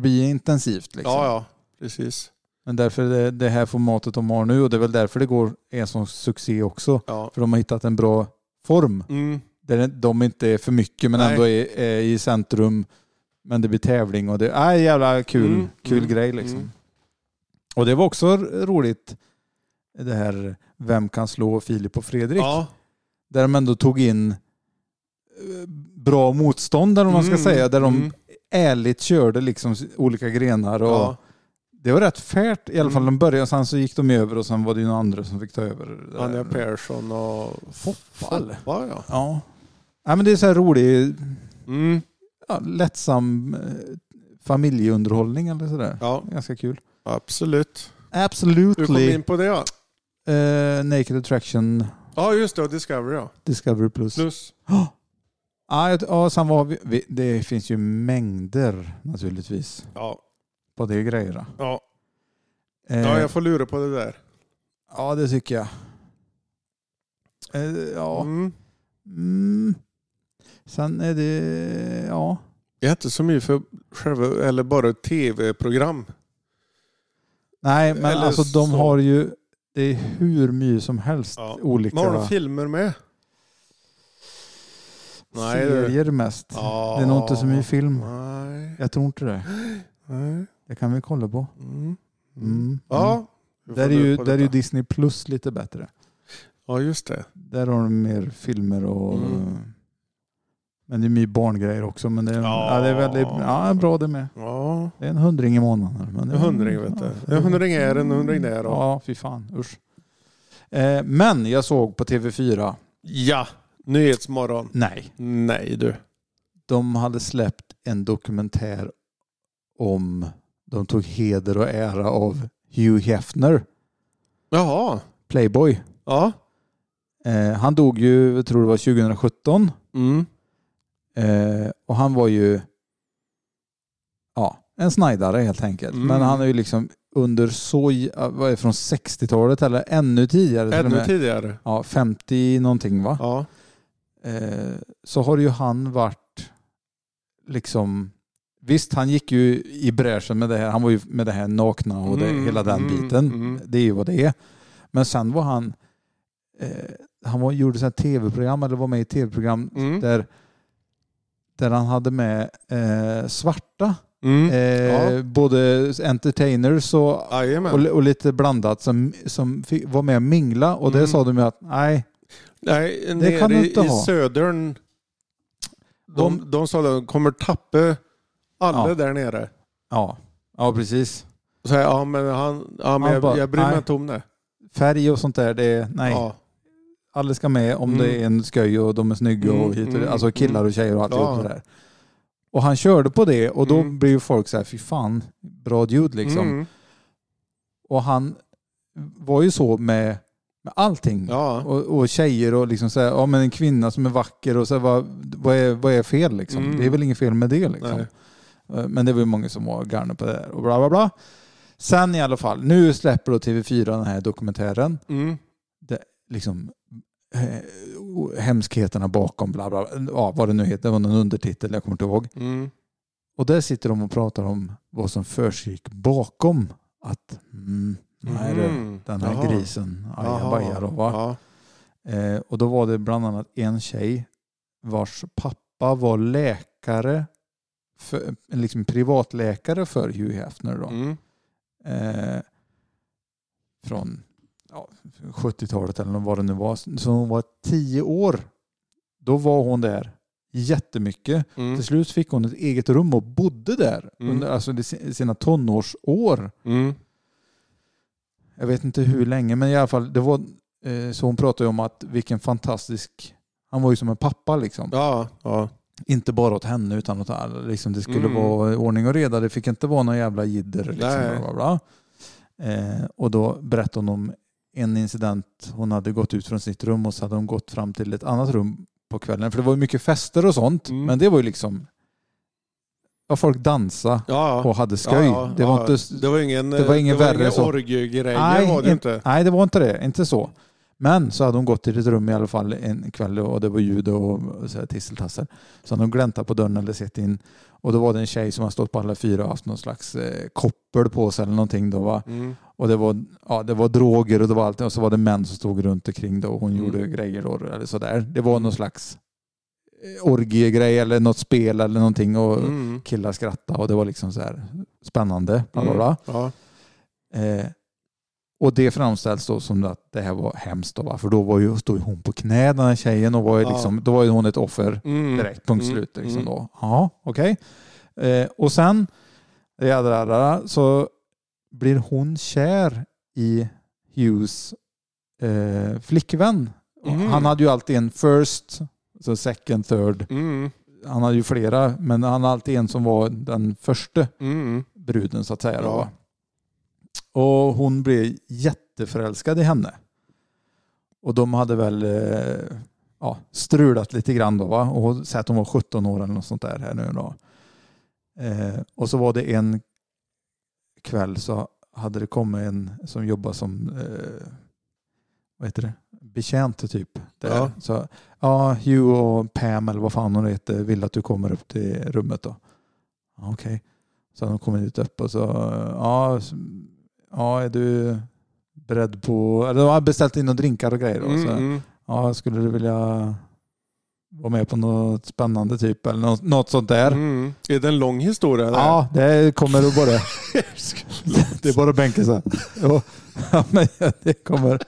S2: blir intensivt. Liksom.
S3: Ja ja, precis.
S2: Men därför det, det här formatet de har nu och det är väl därför det går är en sån succé också.
S3: Ja.
S2: För de har hittat en bra form
S3: Mm.
S2: där det- de inte är för mycket men
S3: Nej.
S2: ändå är, är i centrum. Men det blir tävling och det är jävla kul,
S3: Mm,
S2: kul
S3: mm,
S2: grej liksom.
S3: mm.
S2: Och det var också r- roligt det här Vem kan slå Filip och Fredrik?
S3: Ja.
S2: Där de ändå tog in eh, bra motståndare om man ska
S3: Mm,
S2: säga. Där de
S3: mm.
S2: ärligt körde liksom s- olika grenar. Och
S3: Ja.
S2: Det var rätt färt i alla fall
S3: Mm.
S2: de började. Sen så gick de över och sen var det ju några andra som fick ta över. det där.
S3: Anja Persson och
S2: Foppal.
S3: Foppa, ja.
S2: Ja. ja men det är så här rolig,
S3: Mm.
S2: ja, lättsam eh, familjeunderhållning eller sådär.
S3: ja,
S2: Ganska kul.
S3: absolut. Hur kom vi
S2: Absolutely
S3: in på det? Ja,
S2: eh, Naked Attraction
S3: ja just det. och Discovery ja.
S2: Discovery Plus.
S3: Plus.
S2: Ja, jag- ja, sen var vi, vi, det finns ju mängder naturligtvis
S3: Ja,
S2: på det grejerna.
S3: ja.
S2: Eh,
S3: ja, jag får lura på det där.
S2: ja, det tycker jag. Eh, ja.
S3: Mm.
S2: Mm. Sen är det, ja.
S3: Jag är inte så mycket för själva, eller bara tv-program.
S2: Nej, men
S3: Eller
S2: alltså de
S3: så-
S2: har ju, det är hur mycket som helst
S3: Ja.
S2: olika
S3: Men har de filmer med? Nej, det-
S2: serier mest.
S3: Ja.
S2: Det är nog inte så mycket film.
S3: Nej.
S2: Jag tror inte det.
S3: Nej.
S2: Det kan vi kolla på.
S3: Mm.
S2: Mm.
S3: Ja. vi får
S2: Där är,
S3: lura
S2: ju,
S3: på
S2: där är ju
S3: detta.
S2: Disney Plus lite bättre.
S3: Ja, just det.
S2: Där har de mer filmer och...
S3: Mm.
S2: Men det är mycket barngrejer också. Men det är, ja.
S3: Ja.
S2: det är väldigt ja, bra det med.
S3: Ja.
S2: Det är en hundring i månaden. Men det
S3: En
S2: är,
S3: hundring vet du. En hundring här, en hundring där. Och...
S2: Ja, fy fan. Usch. Eh, men jag såg på TV4.
S3: Ja, Nyhetsmorgon.
S2: Nej.
S3: Nej du.
S2: De hade släppt en dokumentär om... De tog heder och ära av Hugh Hefner,
S3: Jaha.
S2: Playboy.
S3: Ja.
S2: Eh, han dog ju, jag tror det var 2017.
S3: Mm.
S2: Eh, och han var ju ja, en snajdare helt enkelt.
S3: Mm.
S2: Men han är ju liksom under så, j- vad är det, från 60-talet eller ännu tidigare till och
S3: Ännu
S2: med.
S3: tidigare.
S2: Ja, 50 någonting va?
S3: Ja.
S2: Eh, så har ju han varit liksom Visst, han gick ju i bräschen med det här. Han var ju med det här nakna och det,
S3: Mm,
S2: hela den
S3: mm,
S2: biten.
S3: mm.
S2: Det är ju vad det är. Men sen var han, eh, han var, gjorde sådana tv-program eller var med i tv-program
S3: Mm.
S2: där, där han hade med eh, svarta,
S3: Mm.
S2: eh,
S3: Ja.
S2: både entertainers och,
S3: Jajamän.
S2: och, li- och lite blandat som, som fick, var med och mingla och det
S3: Mm.
S2: sa de ju att nej,
S3: Nej,
S2: Det
S3: nere
S2: kan du
S3: i,
S2: inte
S3: i
S2: ha.
S3: södern. De, de, sa att de kommer tappa alla
S2: Ja.
S3: där nere.
S2: ja, ja precis.
S3: Och säga, ja men han, ja, men
S2: Han
S3: jag,
S2: bara,
S3: jag bryr mig
S2: nej.
S3: inte om det.
S2: Färg och sånt där, det är nej.
S3: Ja.
S2: Alla ska med om
S3: Mm.
S2: det är en sköj och de är snygga
S3: Mm,
S2: och hit och
S3: mm,
S2: alltså killar
S3: mm.
S2: och tjejer och allt
S3: Ja.
S2: det där. Och han körde på det och då
S3: Mm.
S2: blev ju folk så här, fy fan, bra dude liksom.
S3: Mm.
S2: Och han var ju så med, med allting.
S3: Ja.
S2: Och, och tjejer och liksom så här, ja men en kvinna som är vacker och så här, vad, vad, är, vad är fel liksom?
S3: Mm.
S2: Det är väl inget fel med det liksom.
S3: Nej.
S2: Eh, Men det var ju många som var garna på det där och bla bla bla. Sen i alla fall, nu släpper då TV4 den här dokumentären.
S3: Mm.
S2: Liksom eh, o- hemskheterna bakom bla bla. bla. Ja, vad det nu heter, det var någon undertitel, jag kommer inte ihåg.
S3: Mm.
S2: Och där sitter de och pratar om vad som försiggick bakom att mm, nej, det,
S3: Mm.
S2: den här
S3: Jaha.
S2: grisen
S3: Jaha.
S2: ajabaja då va.
S3: Ja.
S2: Eh, och då var det bland annat en tjej vars pappa var läkare, för, liksom privatläkare för Hugh Hefner då.
S3: Mm.
S2: Eh, från ja, 70-talet eller vad det nu var. Så hon var tio år. Då var hon där jättemycket.
S3: Mm.
S2: Till slut fick hon ett eget rum och bodde där
S3: Mm.
S2: under alltså, det- sina tonårsår.
S3: Mm.
S2: Jag vet inte hur länge, men i alla fall, det var, eh, så hon pratade ju om att vilken fantastisk, han var ju som en pappa liksom.
S3: Ja. Ja.
S2: Inte bara åt henne utan åt alla. Liksom, det skulle
S3: Mm.
S2: vara ordning och reda, det fick inte vara någon jävla jidder. Liksom,
S3: Nej.
S2: bla, bla, bla. Eh, och då berättade hon om en incident, hon hade gått ut från sitt rum och så hade hon gått fram till ett annat rum på kvällen. För det var ju mycket fester och sånt,
S3: Mm.
S2: men det var ju liksom, ja, folk dansa
S3: ja.
S2: och hade skoj.
S3: Ja, ja,
S2: det var
S3: ja.
S2: inte...
S3: det var ingen,
S2: det var ingen värre
S3: inga
S2: så.
S3: orgiegrejer
S2: Nej,
S3: var det ju inte.
S2: Nej, det var inte det. Inte så. Men så hade hon gått till ett rum i alla fall en kväll och det var ljud och så här tisseltassel. Så hade hon gläntat på dörren eller sett in och då var det en tjej som hade stått på alla fyra och haft någon slags eh, koppel på sig eller någonting. Då, va?
S3: Mm.
S2: Och det var, ja, det var droger och det var allt och så var det män som stod runt omkring då och hon
S3: Mm.
S2: gjorde grejer då, eller sådär. Det var någon slags eh, orgiegrej eller något spel eller någonting och
S3: Mm.
S2: killar skrattade och det var liksom så här spännande. Bla, bla, bla.
S3: Ja.
S2: Eh, Och det framställs då som att det här var hemskt. Då, va? För då var ju, stod ju hon på knä den här tjejen och var ju
S3: Ja.
S2: liksom, då var ju hon ett offer
S3: Mm.
S2: direkt. Punkt
S3: Mm.
S2: slut. Liksom
S3: Mm.
S2: då. Ja, okej. Eh, och sen jadrarara, så blir hon kär i Hughes eh, flickvän. Och
S3: Mm.
S2: Han hade ju alltid en first, så second, third.
S3: Mm.
S2: Han hade ju flera, men han hade alltid en som var den första
S3: Mm.
S2: bruden så att säga. Då,
S3: Ja.
S2: va? Och hon blev jätteförälskad i henne. Och de hade väl eh, ja, strulat lite grann då va? och sett att hon var 17 år eller något sånt där här nu då. Eh, och så var det en kväll så hade det kommit en som jobbade som eh, vad heter det? betjänt typ. Där.
S3: Ja.
S2: Så, ja, Hugh och Pam eller vad fan hon heter vill att du kommer upp till rummet då. Ja, Okej. Så han kom dit upp och så, eh, ja, så- ja är du beredd på, eller de hade beställt in och drinkar och grejer. Då, så,
S3: Mm.
S2: ja, skulle du vilja vara med på något spännande typ eller något, något sånt där?
S3: Mm. Är det en lång historia? eller?
S2: Ja, det kommer att bara... det är bara att bänka sig. Jo, Ja, men det kommer.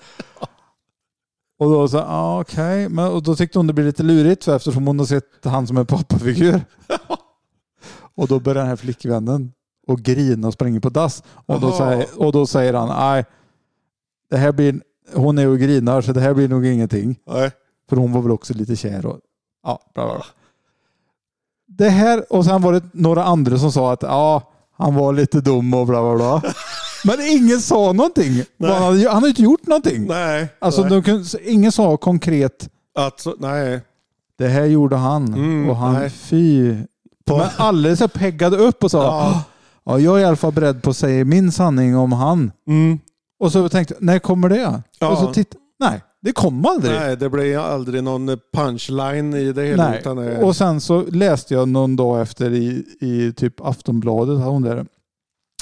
S2: Och då så, ah, okej. men Och då tyckte hon det blev lite lurigt för eftersom hon har sett han som en pappafigur. Och då börjar den här flickvännen och grina och springer på dass. Och då
S3: Jaha.
S2: säger, och då säger han, nej, det här blir, hon är och grinar så det här blir nog ingenting.
S3: Nej.
S2: För hon var väl också lite kär. Och, ja, bra, bra. Det här, och sen var det några andra som sa att ja, han var lite dum och bla bla bla. Men ingen sa någonting. Vad Han hade, han hade inte gjort någonting.
S3: Nej.
S2: Alltså,
S3: nej.
S2: de kunde, så ingen sa konkret
S3: Alltså, nej.
S2: det här gjorde han
S3: Mm,
S2: och han
S3: nej.
S2: fy.
S3: På-
S2: Men alldeles så peggade upp och sa
S3: Ja.
S2: ja. ja, jag är i alla fall beredd på att säga min sanning om han.
S3: Mm.
S2: Och så tänkte jag, när kommer det?
S3: Ja.
S2: Och så titt, nej, det kom aldrig.
S3: nej, det blir aldrig någon punchline i det hela.
S2: Nej.
S3: Utan, det-
S2: Och sen så läste jag någon dag efter i, i typ Aftonbladet, hade hon där,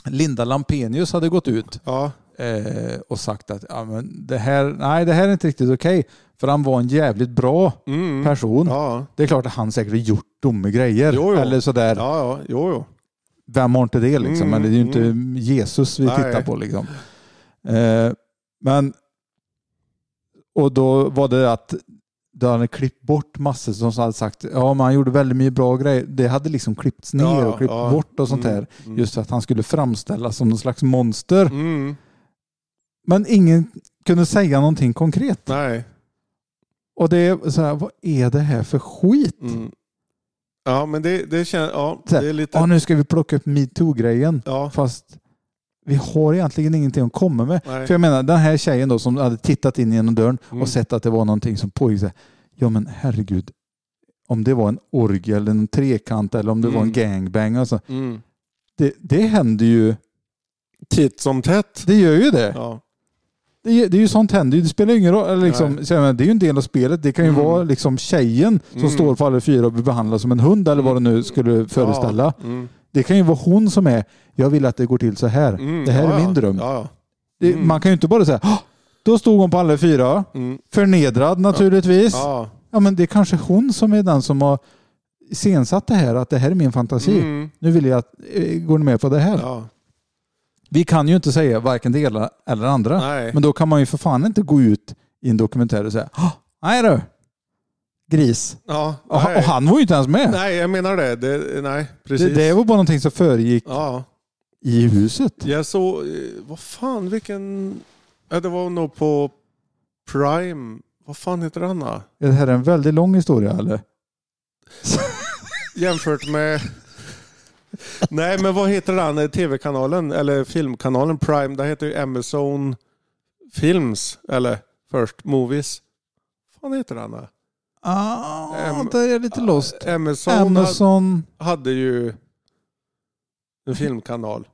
S2: Linda Lampenius hade gått ut
S3: ja.
S2: eh, och sagt att ja, men det, här, nej, det här är inte riktigt okej. för han var en jävligt bra
S3: Mm.
S2: person.
S3: Ja.
S2: Det är klart att han säkert har gjort dumma grejer.
S3: Jo, jo.
S2: Eller sådär,
S3: ja, ja, jo, jo.
S2: vem har inte det liksom?
S3: Mm,
S2: Men det är ju inte Jesus vi
S3: Nej.
S2: tittar på liksom. Eh, men, och då var det att då hade klippt bort massor som hade sagt ja men han gjorde väldigt mycket bra grejer. Det hade liksom klippts ner
S3: Ja,
S2: och klippt
S3: ja.
S2: bort och sånt
S3: Mm,
S2: här.
S3: mm.
S2: Just för att han skulle framställas som någon slags monster.
S3: Mm.
S2: Men ingen kunde säga någonting konkret.
S3: Nej.
S2: Och det är så här, vad är det här för skit?
S3: Mm. Ja, men det, det känns... Ja,
S2: Så här,
S3: det är lite...
S2: Ja nu ska vi plocka upp metoo-grejen.
S3: Ja,
S2: Fast vi har egentligen ingenting att komma med.
S3: nej.
S2: För jag menar, den här tjejen då som hade tittat in genom dörren
S3: Mm.
S2: och sett att det var någonting som pågick. så här, Ja men herregud, om det var en orgie eller en trekant eller om det var en
S3: Mm.
S2: gangbang. Alltså,
S3: Mm.
S2: det, det händer ju,
S3: Titt som tätt.
S2: det gör ju det.
S3: Ja.
S2: Det, det är ju sånt händer ju, det spelar ju ingen roll. Eller liksom, så jag menar, det är ju en del av spelet. Det kan ju
S3: Mm.
S2: vara liksom tjejen som
S3: Mm.
S2: står på alla fyra och blir behandlad som en hund eller vad det nu skulle föreställa.
S3: Ja. Mm.
S2: Det kan ju vara hon som är, jag vill att det går till så här.
S3: Mm.
S2: Det här
S3: ja,
S2: är
S3: ja.
S2: min dröm.
S3: Ja, ja.
S2: Det,
S3: Mm.
S2: Man kan ju inte bara säga, "Hå! då stod hon på alla fyra.
S3: Mm.
S2: Förnedrad naturligtvis. Ja.
S3: Ja.
S2: men det är kanske hon som är den som har iscensatt det här, att det här är min fantasi.
S3: Mm.
S2: Nu vill jag att, eh, går ni med på det här?
S3: Ja.
S2: Vi kan ju inte säga varken det ena eller andra.
S3: Nej.
S2: Men då kan man ju för fan inte gå ut i en dokumentär och säga "Hå, Nej du, gris.
S3: Ja.
S2: Och,
S3: nej.
S2: och han var ju inte ens med.
S3: Nej, jag menar det. det nej,
S2: det,
S3: precis.
S2: det var bara någonting som föregick
S3: Ja.
S2: i huset.
S3: Jag såg... eh, Vad fan, vilken... Ja, det var nog på Prime. Vad fan heter han då?
S2: Är det här en väldigt lång historia eller?
S3: Jämfört med... Nej, men vad heter den eh, tv-kanalen eller filmkanalen Prime? Det heter ju Amazon Films, eller först Movies. Vad fan heter den då?
S2: Ah,
S3: Em-
S2: där är jag lite lost.
S3: Amazon, Amazon
S2: Amazon,
S3: hade ju en filmkanal.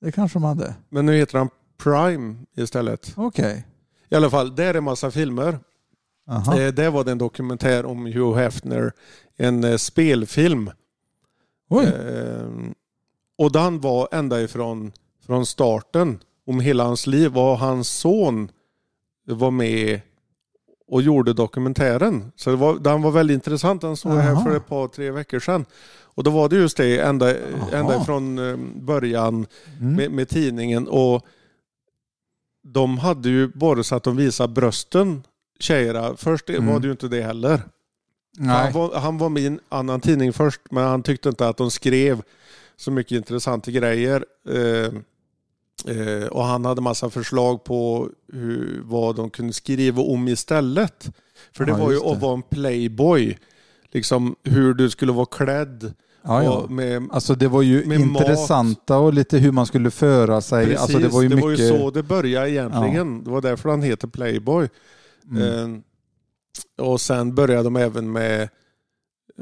S2: det kanske de hade.
S3: Men nu heter den Prime istället.
S2: Okej.
S3: I alla fall, där är en massa filmer.
S2: Aha.
S3: Eh, där var det en dokumentär om Hugh Hefner. En eh, spelfilm.
S2: Oj.
S3: Ehm, och den var ända ifrån från starten om hela hans liv. Och hans son var med och gjorde dokumentären. Så det var, den var väldigt intressant. Den såg jag här
S2: Jaha.
S3: för ett par, tre veckor sedan. Och då var det just det, ända,
S2: Jaha.
S3: ända ifrån eh, början
S2: Mm.
S3: med, med tidningen och de hade ju bara så att de visade brösten, tjejerna. Först
S2: Mm.
S3: var det ju inte det heller. Han
S2: Nej.
S3: var, han var med i en annan tidning först, men han tyckte inte att de skrev så mycket intressanta grejer. Eh, eh, och han hade massa förslag på hur, vad de kunde skriva om istället. För det
S2: Ja,
S3: var ju
S2: just det.
S3: att vara en playboy. Liksom hur du skulle vara klädd.
S2: Ja, ja.
S3: Och med,
S2: Alltså det var ju
S3: Med mat.
S2: intressanta och lite hur man skulle föra sig.
S3: precis,
S2: alltså det var ju mycket...
S3: så det började egentligen. Det var därför han heter Playboy.
S2: mm.
S3: Eh, och sen började de även med,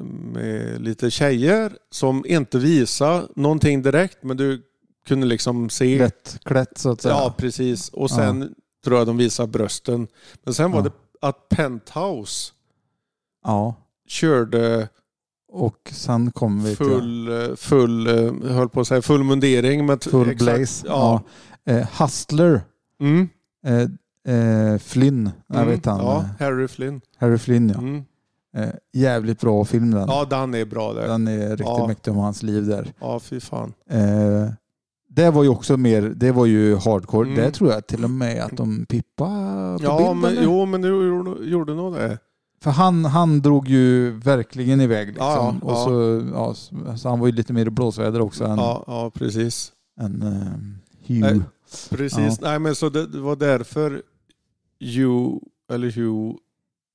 S3: med lite tjejer som inte visade någonting direkt men du kunde liksom se.
S2: lättklätt så att säga.
S3: Ja, precis. Och sen tror jag de visade brösten. Men sen var
S2: Ja.
S3: det att Penthouse
S2: Ja.
S3: körde
S2: Och sen kom vi till...
S3: full, full, eh, höll på att säga full mundering. Men t-
S2: Full
S3: exakt-
S2: Blaze.
S3: Ja.
S2: Ja. Eh, Hustler.
S3: Mm.
S2: Eh, eh, Flynn. Jag
S3: Mm.
S2: vet han. eh,
S3: Ja, Harry Flynn.
S2: Harry Flynn ja.
S3: Mm.
S2: Eh, jävligt bra film den.
S3: Ja, den är bra där.
S2: Den är riktigt
S3: Ja.
S2: mäktig om hans liv där.
S3: Ja, fy fan.
S2: Eh, det var ju också mer, det var ju hardcore.
S3: Mm.
S2: Det tror jag till och med att de pippa på
S3: Ja,
S2: bild,
S3: men,
S2: eller?
S3: jo, men du gjorde, gjorde nog
S2: Mm.
S3: det.
S2: För han, han drog ju verkligen iväg liksom.
S3: Ja, ja,
S2: och Så, ja, så- så han var ju lite mer i blåsväder också än,
S3: Ja, ja precis.
S2: än eh, Hugh.
S3: Nej. Precis. Nej, men så det, det var därför you eller Hugh,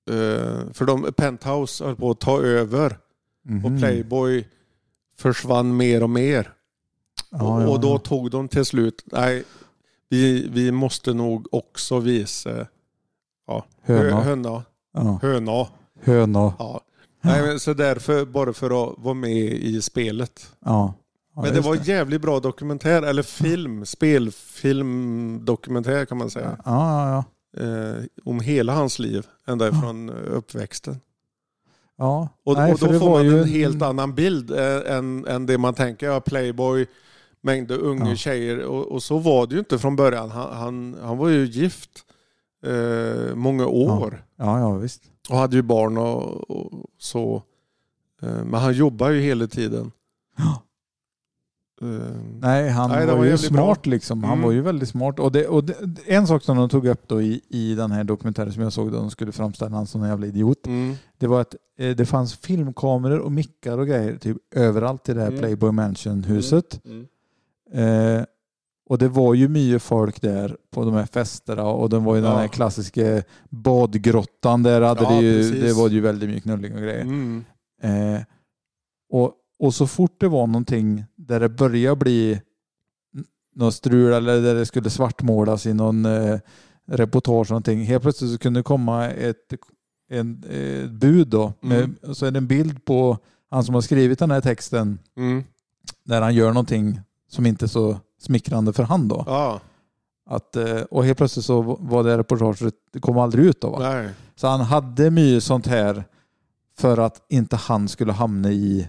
S3: eh, för de, Penthouse höll på att ta över
S2: Mhm.
S3: och Playboy försvann mer och mer.
S2: Ja,
S3: och,
S2: ja,
S3: och då
S2: ja.
S3: tog de till slut, nej, vi, vi måste nog också visa
S2: Höna.
S3: Hö, höna.
S2: ja.
S3: höna.
S2: Höna.
S3: Ja. Nej, men så därför, bara för att vara med i spelet.
S2: Ja. Ja,
S3: Men det
S2: just
S3: var jävligt bra dokumentär, eller film, spelfilmdokumentär kan man
S2: Ja,
S3: säga.
S2: ja, ja.
S3: Eh, om hela hans liv, ända ifrån eh, uppväxten.
S2: ja.
S3: Och,
S2: Nej,
S3: och
S2: för
S3: då
S2: det
S3: får
S2: var
S3: man
S2: ju
S3: en helt annan bild eh, än, än det man tänker. Ja, Playboy, mängder unga
S2: Ja.
S3: tjejer. Och, och så var det ju inte från början. Han, han, han var ju gift eh, många år
S2: Ja, ja, visst.
S3: och hade ju barn och, och så. Eh, men han jobbar ju hela tiden.
S2: Ja.
S3: Eh,
S2: Nej, han
S3: Nej, det
S2: var,
S3: var
S2: ju
S3: jävligt
S2: smart liksom. Han
S3: Mm.
S2: var ju väldigt smart. Och, det, och det, en sak som de tog upp då i, i den här dokumentären som jag såg då de skulle framställa han som en jävla idiot.
S3: Mm.
S2: Det var att eh, det fanns filmkameror och mickar och grejer typ överallt i det här
S3: Mm.
S2: Playboy Mansion-huset. Eh, och det var ju mycket folk där på de här festerna och den var ju den
S3: Ja.
S2: här klassiska badgrottan där hade
S3: Ja,
S2: det, ju,
S3: precis.
S2: det var ju väldigt mycket knulling och grejer.
S3: Mm.
S2: Eh, och, och så fort det var någonting där det började bli n- något strul eller där det skulle svartmålas i någon eh, reportage och någonting. Helt plötsligt så kunde det komma ett, en, eh, ett bud då. Med,
S3: Mm.
S2: och Så är det en bild på han som har skrivit den här texten
S3: Mm.
S2: när han gör någonting som inte är så smickrande för han då.
S3: Ja,
S2: Att, eh, och helt plötsligt så var det reportaget, det kom aldrig ut då va?
S3: nej.
S2: Så han hade mycket sånt här för att inte han skulle hamna i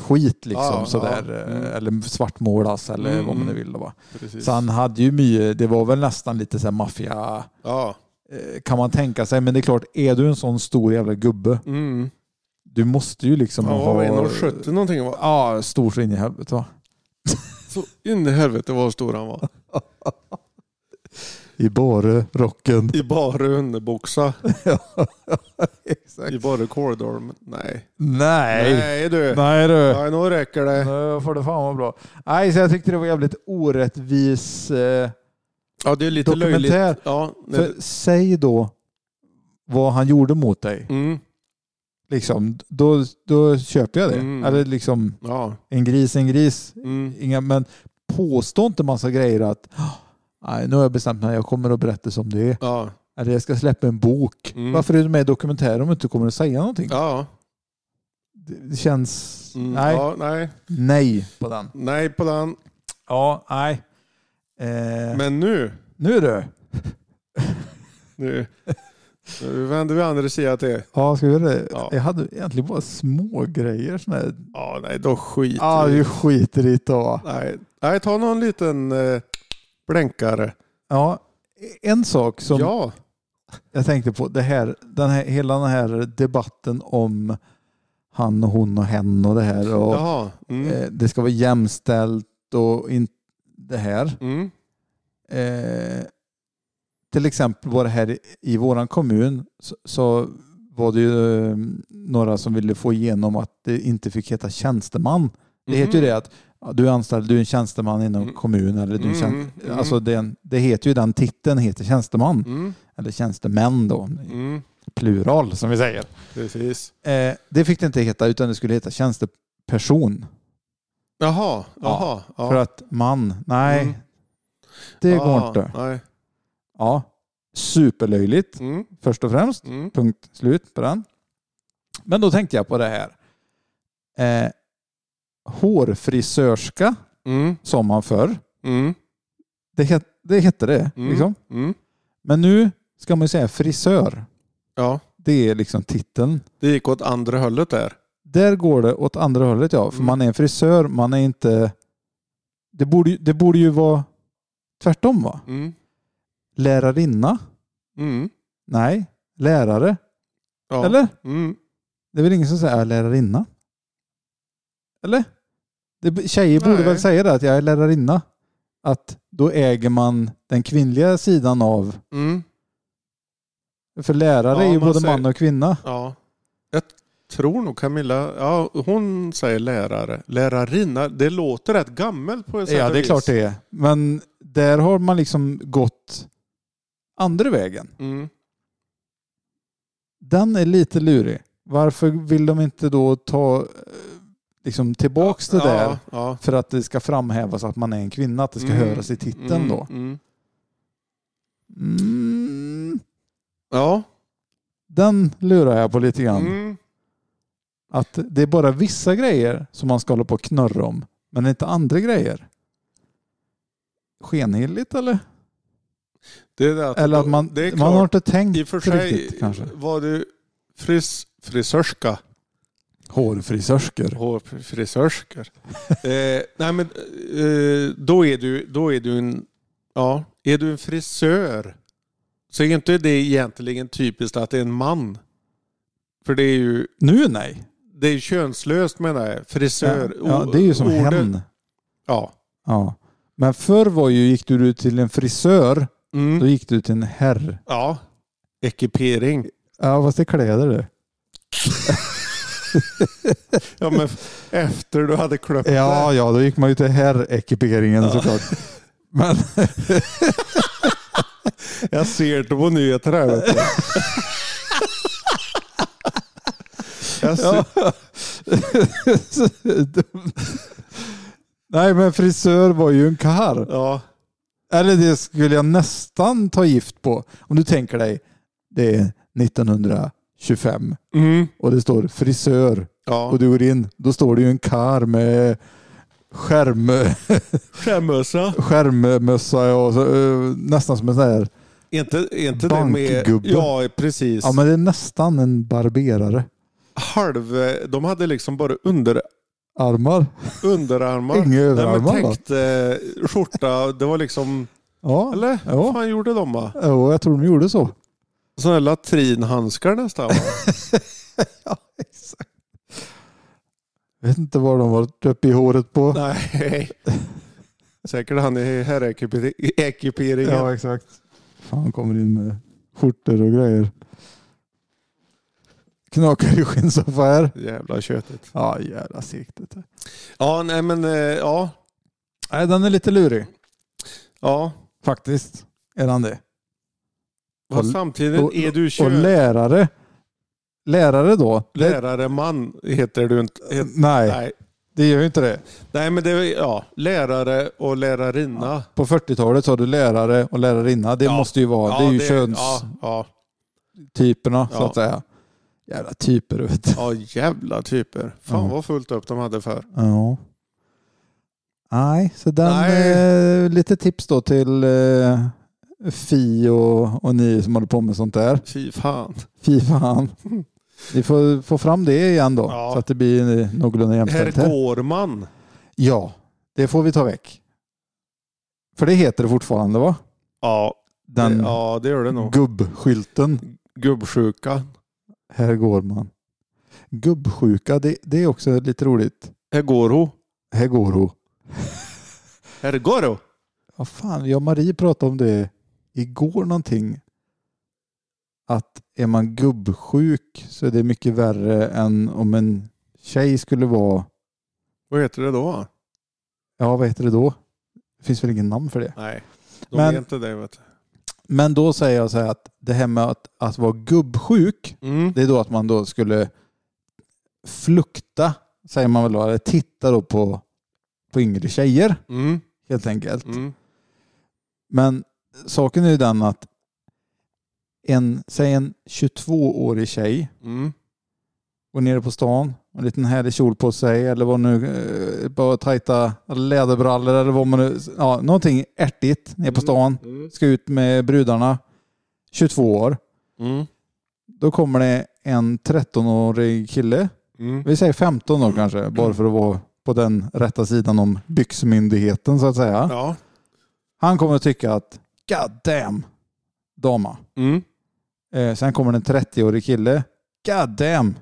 S2: skit liksom
S3: Ja,
S2: sådär.
S3: ja.
S2: eh,
S3: Mm.
S2: Eller svartmålas eller
S3: Mm,
S2: vad man nu
S3: mm.
S2: vill. Då, va?
S3: Precis.
S2: Så han hade ju mycket, det var väl nästan lite så här maffia
S3: Ja.
S2: eh, kan man tänka sig. Men det är klart, är du en sån stor jävla gubbe,
S3: Mm.
S2: du måste ju liksom
S3: Han var
S2: ha...
S3: väl 1,70 någonting va?
S2: Ja, stor så in i helvete va?
S3: Så in i helvete vad stor han var.
S2: I bara rocken.
S3: I bara underboxa.
S2: Exakt.
S3: I bara kåldorm. Nej.
S2: Nej.
S3: Nej du.
S2: Nej du.
S3: Nej, nu räcker det.
S2: Nu får det fan vara bra. Nej, så jag tyckte det var jävligt orättvis eh,
S3: Ja, det är lite löjligt.
S2: dokumentär.
S3: Ja, nej.
S2: För säg då vad han gjorde mot dig.
S3: Mm.
S2: Liksom, då, då köper jag det.
S3: Mm.
S2: Eller liksom
S3: Ja.
S2: en gris, en gris.
S3: Mm.
S2: Inga, men påstå inte massa grejer att "Ah, nej, nu har jag bestämt mig, jag kommer att berätta som det är.
S3: Ja.
S2: Eller jag ska släppa en bok.
S3: Mm.
S2: Varför är du med i dokumentären om du inte kommer att säga någonting?
S3: Ja.
S2: Det det känns...
S3: Mm.
S2: Nej.
S3: ja. Nej.
S2: Nej på den.
S3: Nej på den.
S2: Ja, nej. Eh,
S3: Men nu.
S2: Nu du.
S3: Nu. Nu vänder vi andra sidan till.
S2: Ja, ska vi göra det?
S3: Ja.
S2: Jag hade egentligen bara små grejer. Såna här.
S3: Ja, nej då skit.
S2: Ja, vi skiter i det. va?
S3: Nej. nej, ta någon liten eh, blänkare.
S2: Ja, en sak som
S3: Ja.
S2: jag tänkte på, det här, den här, hela den här debatten om han och hon och hen och det här. Och,
S3: Jaha. Mm.
S2: eh, det ska vara jämställt och in, det här.
S3: Mm.
S2: Eh, till exempel var det här i- i våran kommun så, så var det ju eh, några som ville få igenom att det inte fick heta tjänsteman. Det heter ju det att ja, du är anställd, du är en tjänsteman inom
S3: Mm.
S2: kommunen. Eller du är en tjän-
S3: Mm, mm.
S2: Alltså det, det heter ju den titeln heter tjänsteman.
S3: Mm.
S2: Eller tjänstemän då,
S3: Mm.
S2: plural som vi säger.
S3: Precis.
S2: Eh, det fick det inte heta utan det skulle heta tjänsteperson.
S3: Jaha, jaha. Ja.
S2: För att man, nej.
S3: Mm. Ah.
S2: Det går
S3: Ja,
S2: inte.
S3: Nej.
S2: Ja. Superlöjligt
S3: Mm.
S2: först och främst.
S3: Mm.
S2: Punkt slut på den. Men då tänkte jag på det här. Eh, hårfrisörska
S3: Mm.
S2: som man förr.
S3: Mm.
S2: Det, het, det hette det.
S3: Mm.
S2: Liksom.
S3: Mm.
S2: Men nu ska man ju säga frisör.
S3: Ja,
S2: Det är liksom titeln.
S3: det gick åt andra hållet där.
S2: Där går det åt andra hållet ja. För
S3: Mm.
S2: man är en frisör, man är inte... Det borde, ju- det borde ju vara tvärtom va?
S3: Mm.
S2: Lärarinna?
S3: Mm.
S2: Nej. Lärare?
S3: Ja.
S2: Eller?
S3: Mm.
S2: Det är väl ingen som säger jag är lärarinna? Eller? Det, tjejer borde
S3: Nej.
S2: väl säga det, att jag är lärarinna. Att då äger man den kvinnliga sidan av...
S3: Mm.
S2: För lärare
S3: Ja,
S2: är ju
S3: man
S2: både
S3: säger-
S2: man och kvinna.
S3: Ja. Jag tror nog Camilla, ja, hon säger lärare. Lärarinna, det låter rätt gammalt på ett sätt
S2: Ja,
S3: och
S2: det är
S3: vis.
S2: klart det är. Men där har man liksom gått andra vägen.
S3: Mm.
S2: Den är lite lurig. Varför vill de inte då ta eh, liksom tillbaks det
S3: ja,
S2: där
S3: Ja.
S2: för att det ska framhävas att man är en kvinna, att det ska
S3: Mm.
S2: höras i titeln
S3: Mm.
S2: då?
S3: Mm.
S2: Mm.
S3: Ja.
S2: Den lurar jag på lite grann.
S3: Mm.
S2: Att det är bara vissa grejer som man ska hålla på och knurra om, men inte andra grejer. Skenheligt eller?
S3: Det är det att,
S2: Eller att man,
S3: det är klart,
S2: man har inte tänkt
S3: i och för sig
S2: riktigt kanske.
S3: var du fris, frisörska.
S2: Hårfrisörskor.
S3: hårfrisörskor. eh, nej men eh, då är du, då är du en, ja, är du en frisör så är inte det egentligen typiskt att det är en man. För det är ju,
S2: Nu nej.
S3: det är könslöst menar jag,
S2: Ja,
S3: frisör.
S2: ja, det är ju som
S3: Ordet-
S2: hen.
S3: Ja.
S2: Ja. Men förr var ju, gick du ut till en frisör, då
S3: Mm.
S2: gick du till en herr.
S3: ja. Ekipering.
S2: Ja, fast det är kläder det.
S3: Ja men efter du hade klöppt
S2: Ja, ja, då gick man ju till herrekiperingen såklart. Men
S3: det. Jag ser det på nyheterna här vet du. Jag ser,
S2: Ja. Så dumt. Nej, men frisör var ju en karl.
S3: ja.
S2: Eller det skulle jag nästan ta gift på. Om du tänker dig, det är 1925
S3: Mm.
S2: och det står frisör
S3: Ja.
S2: och du går in, då står det ju en karl med skärm,
S3: Skämmössa.
S2: skärmmössa och så, eh, nästan som en sån här,
S3: Inte, inte det med...
S2: Bankgubbe.
S3: Ja, precis.
S2: ja men det är nästan en barberare.
S3: Halv... De hade liksom bara under,
S2: Armar,
S3: underarmar.
S2: inga
S3: Nej,
S2: överarmar
S3: men
S2: va?
S3: täckt eh, skjorta. Det var liksom...
S2: Ja,
S3: Eller?
S2: Ja.
S3: Vad fan gjorde de va?
S2: Jo, jag tror de gjorde så.
S3: Sådana latrinhandskar nästan va?
S2: ja, exakt. Jag vet inte vad de var uppe i håret på.
S3: Nej. Säkert han i herrekiperingen.
S2: ja, exakt. Fan kommer in med skjortor och grejer. Knakar i skinnsoffär.
S3: Jävla köttet.
S2: Ja, jävla segt. det där.
S3: Ja, nej men eh, ja.
S2: Nej, den är lite lurig.
S3: Ja.
S2: Faktiskt är den det.
S3: Fast
S2: Och-
S3: samtidigt
S2: och-
S3: är du
S2: Och
S3: kön...
S2: lärare. Lärare då? Det-
S3: Lärare man heter du inte.
S2: Nej,
S3: Het- nej.
S2: det gör ju inte det.
S3: Nej men det är ja, lärare och lärarinna.
S2: På 40-talet sa du lärare och lärarinna. Det
S3: Ja.
S2: måste ju vara.
S3: Ja,
S2: det är ju
S3: Ja, ja,
S2: könstyperna så
S3: Ja.
S2: att säga. Jävla typer vet du.
S3: ja, jävla typer. Fan
S2: Ja.
S3: vad fullt upp de hade för.
S2: Ja. Nej, så den
S3: Nej.
S2: Eh, lite tips då till eh, Fi och, och ni som håller på med sånt där.
S3: Fy fan.
S2: Fy fan. Ni får få fram det igen då
S3: Ja.
S2: så att det blir eh, någorlunda
S3: Herr
S2: jämställt här.
S3: Gårman.
S2: Ja, det får vi ta väck. För det heter det fortfarande va?
S3: Ja,
S2: Den
S3: det, ja, det gör det nog.
S2: gubbskylten.
S3: Gubbsjuka.
S2: Här går man. Gubbsjuka, det, det är också lite roligt.
S3: Herr Goro.
S2: Här går hon.
S3: Herr Goro.
S2: Vad fan, jag och Marie pratade om det igår någonting att är man gubbsjuk så är det mycket värre än om en tjej skulle vara,
S3: Vad heter det då?
S2: ja vad heter det då? Det finns väl ingen namn för det.
S3: Nej, de
S2: Men-
S3: är inte det. Vet
S2: Men då säger jag så här att det här med att, att vara gubbsjuk,
S3: du. Mm.
S2: det är då att man då skulle flukta, säger man väl då, eller titta då på, på yngre tjejer
S3: Mm.
S2: helt enkelt.
S3: Mm.
S2: Men saken är ju den att en, säg en 22-årig tjej
S3: Mm.
S2: går nere på stan, en liten härlig kjol på sig eller vad nu, eh, bara tajta läderbrallor eller vad man nu, ja, någonting ärtigt nere på stan,
S3: Mm.
S2: ska ut med brudarna, 22 år.
S3: Mm.
S2: Då kommer det en 13-årig kille,
S3: Mm.
S2: vi säger 15 år kanske, bara för att vara på den rätta sidan om byxmyndigheten så att säga.
S3: Ja.
S2: Han kommer att tycka att God damn, dama.
S3: Mm.
S2: Eh, sen kommer det en 30-årig kille. God damn,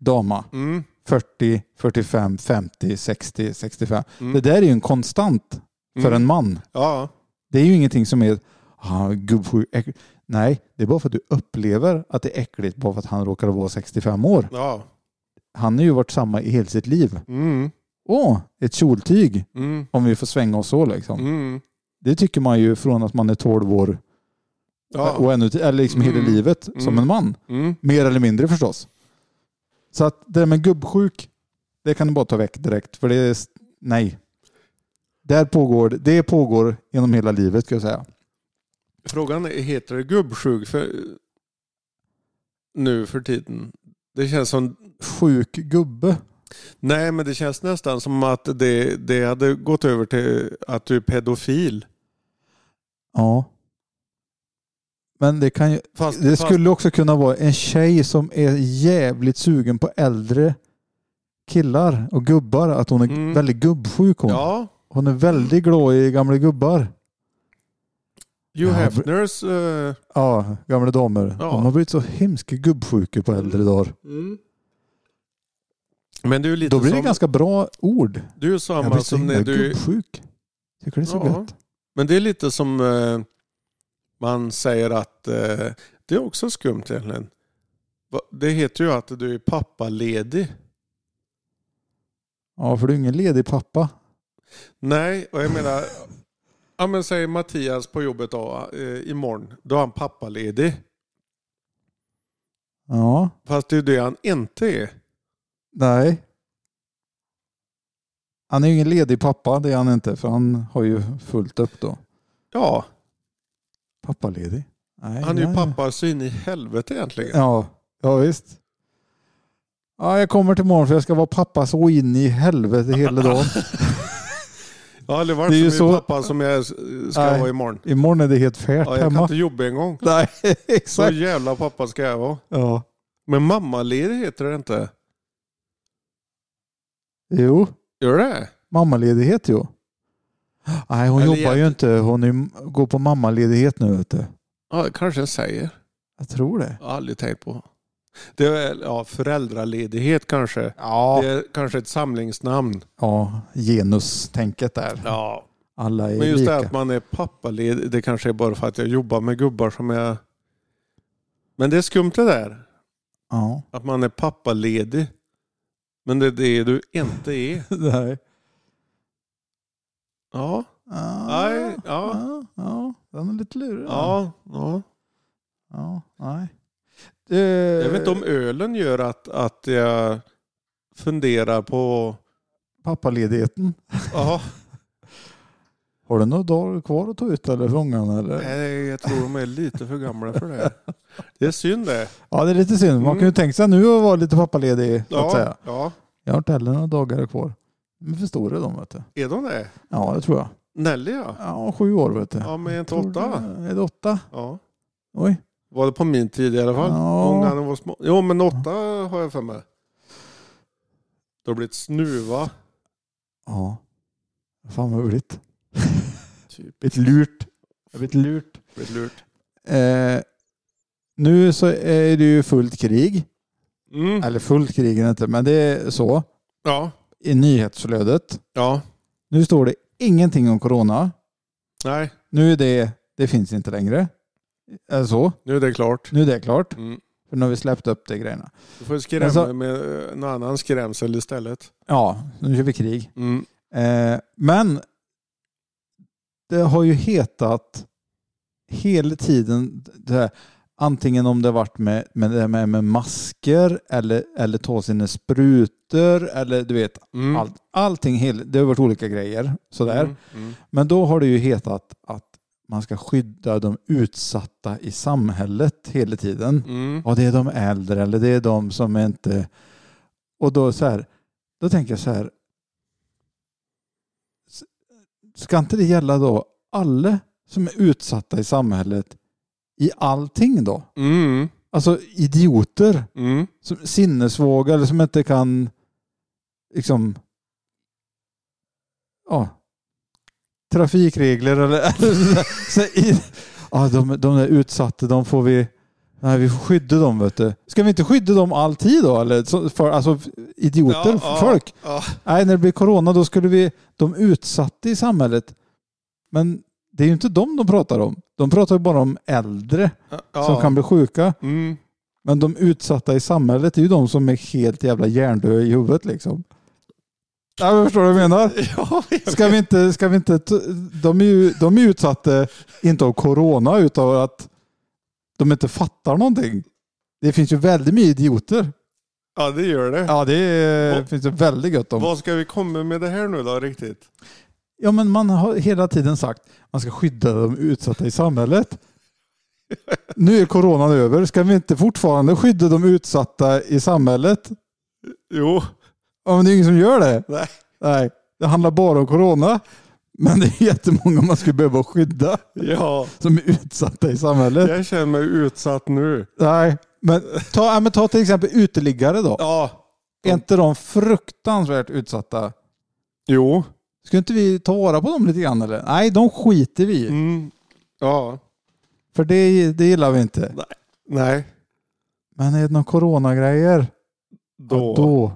S2: dama.
S3: Mm.
S2: 40, 45, 50, 60, 65.
S3: Mm.
S2: Det där är ju en konstant för
S3: Mm.
S2: en man.
S3: Ja.
S2: Det är ju ingenting som är ah, gubbsjuk. äck-" Nej, det är bara för att du upplever att det är äckligt bara för att han råkar vara 65 år.
S3: Ja.
S2: Han har ju varit samma i hela sitt liv.
S3: Mm.
S2: Åh, ett kjoltyg
S3: Mm.
S2: om vi får svänga oss så liksom.
S3: Mm.
S2: Det tycker man ju från att man är 12 år
S3: Ja.
S2: och ännu, eller liksom hela
S3: Mm.
S2: livet som
S3: Mm.
S2: en man.
S3: Mm.
S2: Mer eller mindre förstås. Så att det där med gubbsjuk, det kan du bara ta väck direkt. För det är, s- nej. Där pågår, det pågår genom hela livet ska jag säga.
S3: Frågan är, heter det gubbsjuk för... nu för tiden? Det känns som
S2: Sjuk gubbe.
S3: Nej, men det känns nästan som att det, det hade gått över till att du är pedofil.
S2: Ja. Men det kan ju,
S3: Fast,
S2: det
S3: fast-
S2: skulle också kunna vara en tjej som är jävligt sugen på äldre killar och gubbar. Att hon är
S3: Mm.
S2: väldigt gubbsjuk hon.
S3: Ja,
S2: Hon är väldigt glad i gamla gubbar.
S3: Hugh
S2: Ja,
S3: Hefners... eh,
S2: Ja, gamla damer.
S3: Ja.
S2: De har blivit så hemska gubbsjuka på äldre dagar.
S3: Men du är lite
S2: Då blir det
S3: som,
S2: ganska bra ord.
S3: du är
S2: Jag
S3: samma
S2: blir så
S3: som
S2: himla
S3: när du...
S2: gubbsjuk. Tycker det är så
S3: Ja.
S2: gött.
S3: Men det är lite som eh, man säger att eh, det är också skumt egentligen. Va- Det heter ju att du är pappaledig.
S2: Ja, för du är ingen ledig pappa.
S3: Nej, och jag menar... Ja, men säg Mattias på jobbet då, eh, imorgon. Då är han pappaledig.
S2: Ja,
S3: Fast det är ju det han inte är.
S2: nej. Han är ju ingen ledig pappa, det är han inte. För han har ju fullt upp då.
S3: Ja,
S2: Pappaledig? Nej,
S3: Han är ju
S2: nej.
S3: pappa så in i helvete egentligen.
S2: Ja, ja visst. Ja, jag kommer till morgon för jag ska vara pappa så in i helvete hela dagen.
S3: Ja, eller varför
S2: Det är
S3: är
S2: ju
S3: min
S2: så-
S3: pappa som jag s- ska
S2: Nej.
S3: vara imorgon.
S2: Imorgon är det helt färt
S3: Ja, jag kan
S2: hemma.
S3: inte jobba en gång.
S2: Nej,
S3: Så
S2: exakt.
S3: jävla pappa ska jag vara.
S2: Ja.
S3: Men mammaledig heter det inte.
S2: Jo.
S3: Gör det?
S2: Mammaledighet jo. Nej hon
S3: Eller
S2: jobbar ju inte. Hon är, ju- går på mammaledighet nu vet du.
S3: Ja, det kanske jag säger.
S2: Jag tror det.
S3: Jag har aldrig tänkt på. Det är väl, ja, föräldraledighet kanske.
S2: Ja.
S3: Det är kanske ett samlingsnamn.
S2: Ja, genustänket där.
S3: Ja.
S2: Alla är
S3: Men just det här
S2: lika.
S3: att man är pappaledig, det kanske är bara för att jag jobbar med gubbar som jag... Men det är skumt det där.
S2: Ja.
S3: Att man är pappaledig. Men det är det du inte är.
S2: Nej.
S3: Ja.
S2: Ah,
S3: Nej, ja.
S2: ja. Ja, den är lite lurig. den.
S3: Ja, ja.
S2: ja nej. Eh,
S3: Jag vet inte om ölen gör att, att jag funderar på...
S2: Pappaledigheten.
S3: Ja,
S2: Har du några dagar kvar att ta ut eller frågan eller?
S3: nej, jag tror de är lite för gamla för det. Det är synd det.
S2: Ja, det är lite synd. Man kan ju
S3: Mm.
S2: tänka sig nu att vara lite pappaledig. Så att
S3: Ja,
S2: säga.
S3: ja.
S2: Jag har inte heller några dagar kvar. Men för stora de vet du.
S3: Är de det?
S2: Ja, det tror jag.
S3: Nelly ja.
S2: Ja, sju år vet du.
S3: Ja, men inte
S2: Tror du-
S3: åtta.
S2: Är det åtta?
S3: Ja.
S2: Oj.
S3: Var det på min tid i alla fall?
S2: Ja.
S3: Många när de var små. Jo, men åtta har jag för mig. Det har blivit snuva.
S2: Ja. Fan vad roligt.
S3: Typ.
S2: Ett lurt. Ett lurt.
S3: Blivit lurt.
S2: Eh, nu så är det ju fullt krig.
S3: Mm.
S2: Eller fullt krig är det inte, men det är så.
S3: Ja.
S2: I nyhetsflödet.
S3: Ja.
S2: Nu står det ingenting om corona.
S3: Nej.
S2: Nu är det, Det finns inte längre. Eh, Så,
S3: Nu är det klart.
S2: nu är det klart.
S3: Mm.
S2: För nu har vi släppt upp de grejerna.
S3: Du får skrämma
S2: Alltså-
S3: med eh, någon annan skrämsel istället.
S2: Ja, nu kör vi krig.
S3: Mm.
S2: Eh, men det har ju hetat hela tiden det här, antingen om det har varit med, med, det här med, med masker eller, eller ta sina sprutor eller du vet
S3: Mm.
S2: allt, allting. hel- Det har varit olika grejer sådär.
S3: Mm. Mm.
S2: Men då har det ju hetat att man ska skydda de utsatta i samhället hela tiden.
S3: Mm.
S2: Ja, det är de äldre eller det är de som inte... Och då så här, då tänker jag så här. s- Ska inte det gälla då alla som är utsatta i samhället i allting då?
S3: Mm.
S2: Alltså idioter,
S3: Mm.
S2: som, sinnesvåga eller som inte kan liksom... Ja. Trafikregler eller... eller så, i, ja, de, de där utsatta, de får vi... Nej, vi får skydda dem, vet du. Ska vi inte skydda dem alltid då? Eller, så, för, alltså, idioter,
S3: Ja, ja,
S2: folk.
S3: ja.
S2: Nej, när det blir corona då skulle vi... De utsatta i samhället. Men det är ju inte dem de pratar om. De pratar ju bara om äldre
S3: Ja.
S2: som kan bli sjuka.
S3: Mm.
S2: Men de utsatta i samhället är ju de som är helt jävla hjärndöda i huvudet liksom. Ja, men förstår du vad jag menar?
S3: Ja, jag
S2: Ska vi inte, ska vi inte, t- de är ju de är ju utsatta, inte av corona, utan av att de inte fattar någonting. Det finns ju väldigt mycket idioter.
S3: Ja, det gör det.
S2: Ja, det är, finns ju väldigt gött om.
S3: Vad ska vi komma med det här nu då riktigt?
S2: Ja, men man har hela tiden sagt man ska skydda de utsatta i samhället. Nu är coronan över. Ska vi inte fortfarande skydda de utsatta i samhället?
S3: Jo,
S2: Ja, men det är ingen som gör det.
S3: nej.
S2: Nej, det handlar bara om corona. Men det är jättemånga man skulle behöva skydda
S3: Ja,
S2: som är utsatta i samhället.
S3: jag känner mig utsatt nu.
S2: Nej, men ta, ja, men ta till exempel uteliggare då.
S3: Ja,
S2: Är inte de fruktansvärt utsatta?
S3: jo.
S2: Skulle inte vi ta vara på dem lite grann eller? Nej, de skiter vi i.
S3: Mm. Ja,
S2: För det, det gillar vi inte.
S3: nej.
S2: Men är det några coronagrejer?
S3: Då,
S2: Ja, då,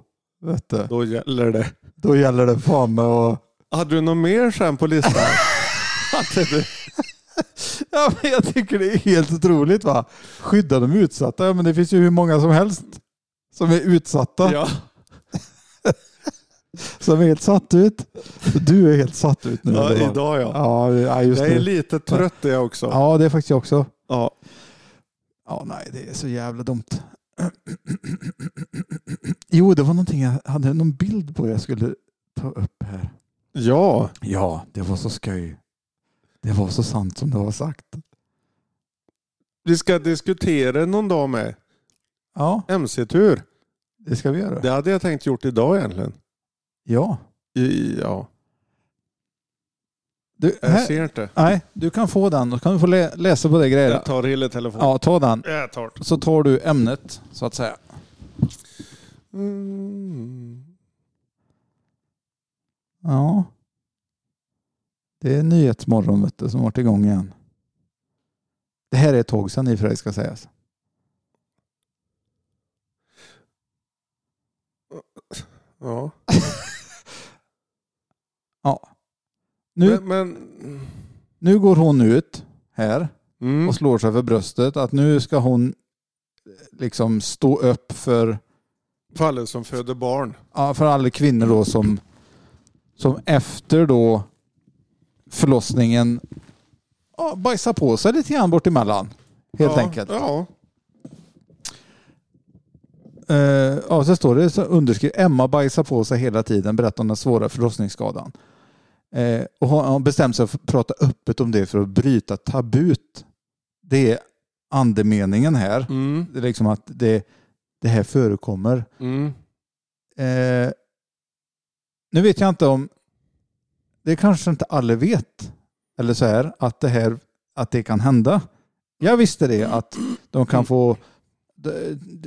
S2: vet du,
S3: då gäller det.
S2: då gäller det fan med att...
S3: Hade du något mer sen på listan? Hade du?
S2: Ja, men jag tycker det är helt otroligt va. Skydda de utsatta. Ja, men det finns ju hur många som helst som är utsatta.
S3: Ja.
S2: Som är helt satt ut. Du är helt satt ut nu.
S3: ja,
S2: eller vad?
S3: idag ja.
S2: Ja, ja, just
S3: Jag är
S2: det.
S3: lite trött jag också.
S2: Ja, det är faktiskt jag också.
S3: Ja.
S2: Ja, nej, det är så jävla dumt. Jo, det var någonting jag hade någon bild på jag skulle ta upp här.
S3: ja.
S2: Ja, det var så skoj. Det var så sant som det var sagt.
S3: Vi ska diskutera någon dag med.
S2: Ja,
S3: MC-tur.
S2: det ska vi göra.
S3: Det hade jag tänkt gjort idag egentligen.
S2: Ja.
S3: I, ja.
S2: Du,
S3: Jag
S2: här,
S3: ser inte.
S2: Nej, du kan få den. Då kan du få lä- läsa på det grejerna.
S3: Jag tar hela telefonen.
S2: Ja, ta den.
S3: Jag tar det.
S2: Så tar du ämnet, så att säga.
S3: Mm.
S2: Ja. Det är Nyhetsmorgon vet du, som varit igång igen. Det här är ett tag sedan i och för sig ska sägas.
S3: Ja.
S2: Nu,
S3: Men, men...
S2: nu går hon ut här
S3: Mm.
S2: och slår sig för bröstet att nu ska hon eh, liksom stå upp för,
S3: Fallet som föder barn.
S2: ja, för alla kvinnor då som, som efter då förlossningen ja, bajsar på sig lite grann bort emellan. Helt
S3: ja,
S2: enkelt.
S3: Ja.
S2: Eh, ja, så står det så underskrivet. Emma bajsar på sig hela tiden, berättar om den svåra förlossningsskadan. Eh, och hon har bestämt sig för att prata öppet om det för att bryta tabut. Det är andemeningen här.
S3: Mm.
S2: Det är liksom att det, det här förekommer.
S3: Mm.
S2: Eh, nu vet jag inte om, det kanske inte alla vet, eller så här, att det här att det kan hända. Jag visste det, att de kan få, de,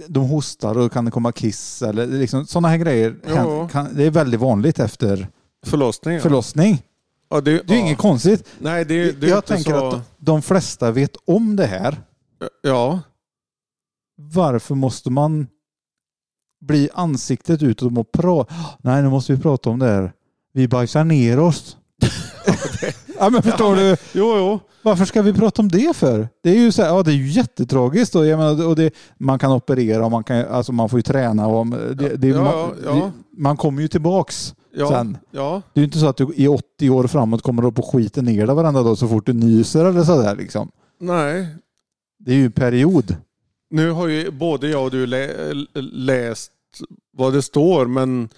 S2: de hostar och kan det komma kiss eller liksom, sådana här grejer.
S3: Ja.
S2: Kan, kan, det är väldigt vanligt efter
S3: Förlossning. ja.
S2: förlossning.
S3: Ja, det,
S2: Det är
S3: ja.
S2: inget konstigt.
S3: Nej, det, är- det är
S2: jag
S3: inte
S2: tänker
S3: så...
S2: att de flesta vet om det här.
S3: Ja.
S2: varför måste man bli ansiktet utåt och prata? Nej, nu måste vi prata om det här. Vi bajsar ner oss. ja, men förstår du?
S3: Jo, jo.
S2: Varför ska vi prata om det för? Det är ju, så här, ja, det är ju jättetragiskt och, jag menar, och det, man kan operera och man, kan, alltså, man får ju träna. Och, eh, det, det,
S3: Ja,
S2: man,
S3: ja.
S2: det- man kommer ju tillbaks
S3: Ja,
S2: sen.
S3: ja.
S2: Det är ju inte så att du i 80 år framåt kommer upp och skiter ner dig varenda dag så fort du nyser eller sådär. Liksom.
S3: Nej.
S2: Det är ju en period.
S3: Nu har ju både jag och du lä- läst vad det står men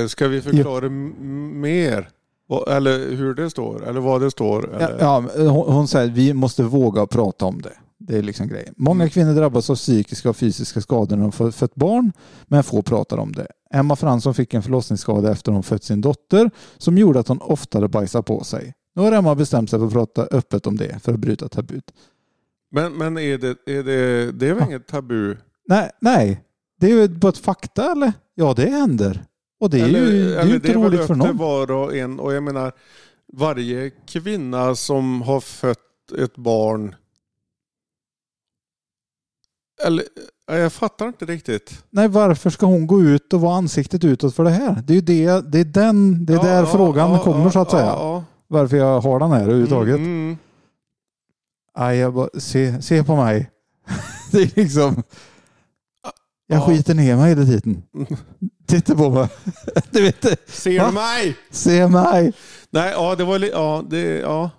S3: eh, ska vi förklara m- mer? Vad- Eller hur det står? Eller vad det står?
S2: Ja,
S3: Eller?
S2: ja, hon, hon säger att vi måste våga prata om det. Det är liksom grejen.
S3: Mm.
S2: Många kvinnor drabbas av psykiska och fysiska skador när de får fött barn, men få pratar om det. Emma Fransson fick en förlossningsskada efter hon fött sin dotter som gjorde att hon oftare bajsade på sig. Nu har Emma bestämt sig för att prata öppet om det för att bryta tabut.
S3: Men, men är det, är det, det är väl inget tabu?
S2: Nej, nej. det är ju bara ett fakta eller? Ja, det händer. Och det är
S3: eller,
S2: ju det är ju
S3: eller
S2: inte
S3: väl
S2: roligt för
S3: upp till
S2: någon.
S3: var och en. Och jag menar, varje kvinna som har fött ett barn... Eller, ja, jag fattar inte riktigt.
S2: Nej, varför ska hon gå ut och vara ansiktet utåt för det här? Det är ju det, det är den, det är
S3: Ja,
S2: där
S3: ja,
S2: frågan
S3: ja,
S2: kommer
S3: ja,
S2: så att
S3: ja,
S2: säga.
S3: ja.
S2: varför jag har den här överhuvudtaget.
S3: Mm, mm.
S2: Aj, jag bara, se, se på mig. det är liksom... Jag
S3: Ja.
S2: skiter ner mig hela tiden. Titta på mig. du vet, det.
S3: Ser
S2: Va?
S3: du mig?
S2: se mig.
S3: Nej, ja, det var li- ja, det, ja.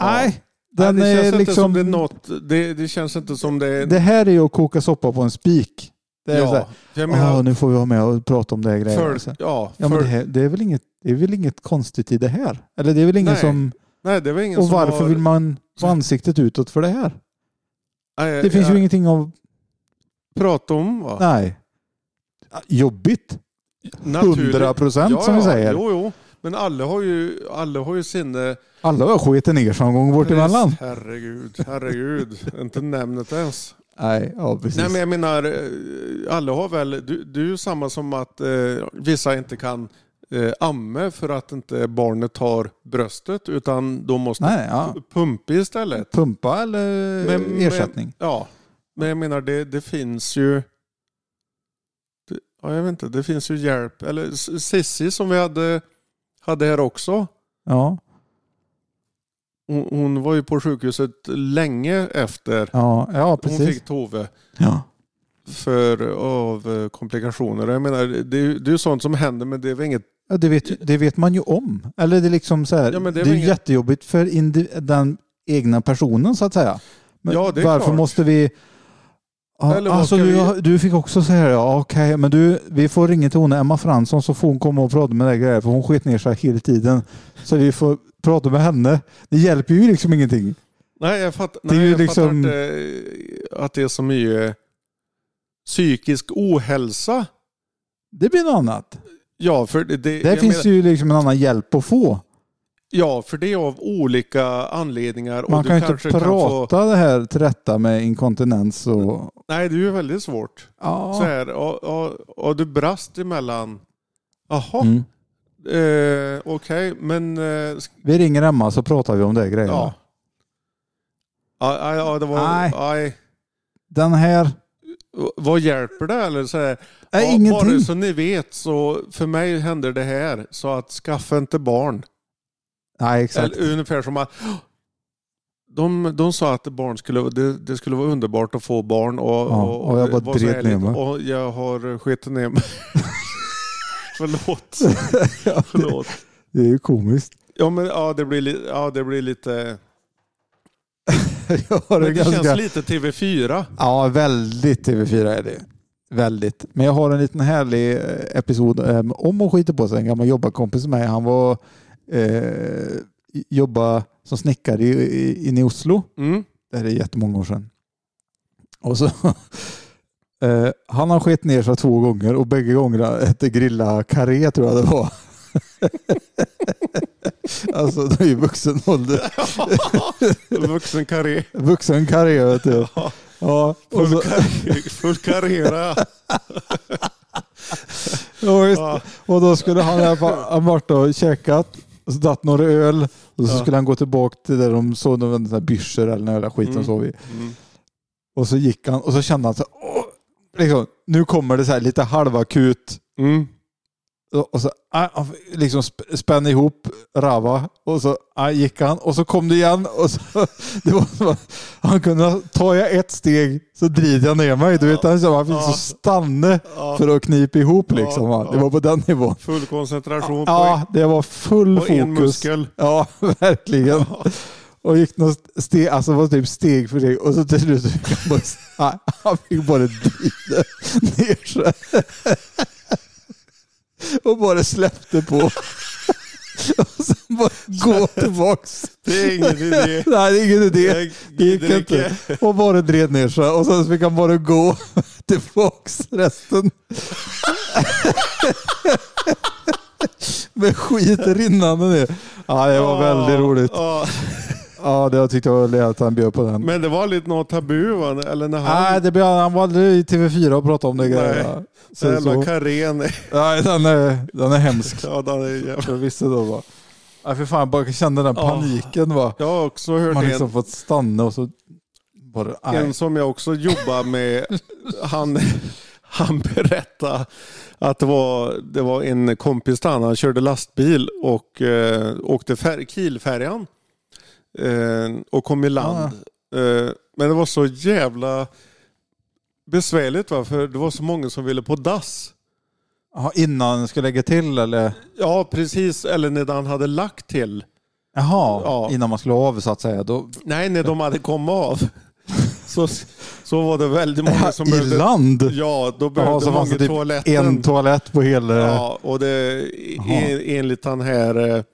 S2: Nej,
S3: Ja,
S2: den
S3: det känns
S2: är
S3: inte
S2: liksom...
S3: som det är något. Det, det känns inte som det är...
S2: det här är ju att koka soppa på en spik. Det är så här,
S3: ja, jag
S2: "Åh,
S3: menar,
S2: nu får vi vara med och prata om det här grejen.
S3: för,
S2: Så här,
S3: ja,
S2: Ja, men
S3: för-
S2: det, här, det, är väl inget, det är väl inget konstigt i det här? Eller det är väl ingen
S3: Nej,
S2: som...
S3: nej, det var ingen
S2: Och
S3: som
S2: varför
S3: har,
S2: vill man få ansiktet utåt för det här?
S3: Nej,
S2: Det finns
S3: jag-
S2: ju ingenting av...
S3: prata om va?
S2: Nej. Jobbigt.
S3: Naturligt.
S2: 100
S3: Ja,
S2: procent som vi
S3: ja,
S2: säger.
S3: Jo, jo. Men alla har ju, alla har ju sinne...
S2: Alla har skiten ner sig någon gång bort emellan.
S3: Herregud, herregud. inte nämnet ens.
S2: Nej, ja precis.
S3: Nej men jag menar, eh, alla har väl... Du, du är ju samma som att eh, vissa inte kan eh, amme för att inte barnet tar bröstet utan de måste
S2: Nej, ja.
S3: pu- pumpa istället.
S2: Pumpa eller
S3: Men-
S2: ersättning.
S3: Ja, men jag menar det, det finns ju... Det, ja, jag vet inte, det finns ju hjälp. Eller S- Sissi som vi hade, hade här också.
S2: Ja,
S3: Hon, hon var ju på sjukhuset länge efter
S2: ja, ja
S3: hon
S2: precis.
S3: fick Tove
S2: Ja.
S3: för, av eh, komplikationer. Jag menar, det, är ju- det är ju sånt som händer men det är väl inget...
S2: Ja, det, vet, det vet man ju om. Eller det är liksom så här,
S3: Ja, men
S2: det är,
S3: det är väl inget-
S2: jättejobbigt för indi- den egna personen så att säga. Men
S3: Ja, det är
S2: varför
S3: klart.
S2: måste vi... Ja,
S3: Eller vad
S2: alltså,
S3: ska
S2: du,
S3: vi-
S2: har- du fick också så här, ja okej, men du, vi får ringa till hon Emma Fransson så får hon komma och prata med dig grejer, för hon skit ner sig hela tiden. Så vi får prata med henne. Det hjälper ju liksom ingenting.
S3: Nej, jag, fatt,
S2: är
S3: nej,
S2: ju
S3: jag
S2: liksom-
S3: fattar inte eh, att det är så mycket psykisk ohälsa.
S2: Det blir något annat.
S3: Ja, för det, det,
S2: Där
S3: jag
S2: finns ju liksom en annan hjälp att få.
S3: Ja, för det är av olika anledningar.
S2: Man
S3: och du
S2: kan ju inte
S3: kanske kan
S2: prata
S3: få...
S2: det här till rätta med inkontinens och...
S3: Nej, det är ju väldigt svårt. Så
S2: Ja.
S3: här, och, och, och du brast emellan. Jaha,
S2: Mm.
S3: eh, okej, men... Eh, sk-
S2: Vi ringer Emma så pratar vi om det grejen.
S3: ja. Ja, ja, ja, det var...
S2: Nej.
S3: Nej.
S2: Den här...
S3: Vad hjälper det? Eller så här,
S2: Nej,
S3: ja,
S2: Äh, ingenting.
S3: Bara så ni vet, så för mig händer det här. Så att skaffa inte barn.
S2: Nej, exakt.
S3: Eller, ungefär som att... De, de sa att barn skulle, det, det skulle vara underbart att få barn. Och,
S2: Ja, och jag bara
S3: det var så
S2: dret ner
S3: härligt.
S2: mig.
S3: Och jag har skitit ner mig. Förlåt.
S2: ja, det,
S3: Förlåt.
S2: det är ju komiskt.
S3: Ja, men, ja, det, blir li, ja, det blir lite...
S2: Jag har
S3: Men
S2: en
S3: det
S2: ganska...
S3: känns lite TV4.
S2: Ja, väldigt TV4 är det. Väldigt. Men jag har en liten härlig eh, episod eh, om att skita på sig. En gammal jobbarkompis med mig. Han var... Eh, jobba som snickare i- i- inne i Oslo.
S3: Mm.
S2: Det här är jättemånga år sedan. Och så, eh, han har skett ner sig två gånger och bägge gångerna hette grilla karré tror jag det var. alltså det är ju vuxen ålder.
S3: Vuxen karriär.
S2: Vuxen karré vet du. Ja, och
S3: Full,
S2: så,
S3: karriär. Full karriär.
S2: ja, just,
S3: Ja.
S2: och då skulle han i alla fall, han varit och käkat och så dratt några öl och så
S3: Ja.
S2: skulle han gå tillbaka till där de såg någon sån här byrser eller någon jävla skit de
S3: Mm.
S2: sov i.
S3: Mm.
S2: Och så gick han och så kände han så här, "Åh!" liksom, nu kommer det så här lite halvakut
S3: Mm.
S2: Och så ah, han liksom sp- spände ihop Rava och så ah, gick han och så kom det igen. Och så, det var, så- han kunde, tar jag ett steg så drider jag ner mig. Du vet, han, så, han fick så stanna
S3: Ja,
S2: för att knipa ihop liksom. va. Det var på den nivån.
S3: full koncentration
S2: Ja, det var full
S3: på, på en
S2: fokus.
S3: muskel.
S2: Ja, verkligen. Och gick något steg, alltså var typ steg för steg och så till slut fick han bara, nej, han fick bara drida ner sig. Och bara släppte på. Och sen bara gå tillbaks.
S3: Det är ingen idé.
S2: Nej, det är ingen idé.
S3: Jag
S2: Det gick
S3: dricker.
S2: inte. Och bara dred ner sig och sen fick han bara gå tillbaks resten. Med skit rinnande ner. Ja, det var väldigt roligt.
S3: Ja,
S2: Ja, det jag tyckte jag var roligt att han bjöd på den.
S3: men det var lite något tabu va? Eller när han...
S2: Nej, det bjöd, han var aldrig i TV4 och pratade om det grejerna. Så,
S3: Jävla
S2: så.
S3: Karen.
S2: Nej, den är, den är hemsk.
S3: Ja, den är jävla...
S2: Jag visste då bara. Nej, för fan, jag bara kände den
S3: Ja.
S2: paniken va.
S3: Jag har också hört
S2: Man
S3: en,
S2: liksom fått stanna och så bara, nej.
S3: en som jag också jobbar med. Han, han berättade att det var, det var en kompis till han, han körde lastbil och eh, åkte fär, Kielfärjan. Eh, och kom i land.
S2: Ah.
S3: Eh, men det var så jävla besvärligt va? för det var så många som ville på dass.
S2: Jaha, innan jag ska lägga till eller?
S3: Ja, precis. Eller när han hade lagt till.
S2: Jaha,
S3: Ja.
S2: innan man skulle av så att säga. Då,
S3: Nej, när de hade kommit av. Så, så var det väldigt många som
S2: I
S3: behövde...
S2: land?
S3: Ja, då
S2: Jaha,
S3: behövde
S2: så fanns
S3: många
S2: det typ
S3: toaletten.
S2: en toalett på hela...
S3: ja, och det,
S2: Jaha.
S3: i, enligt den här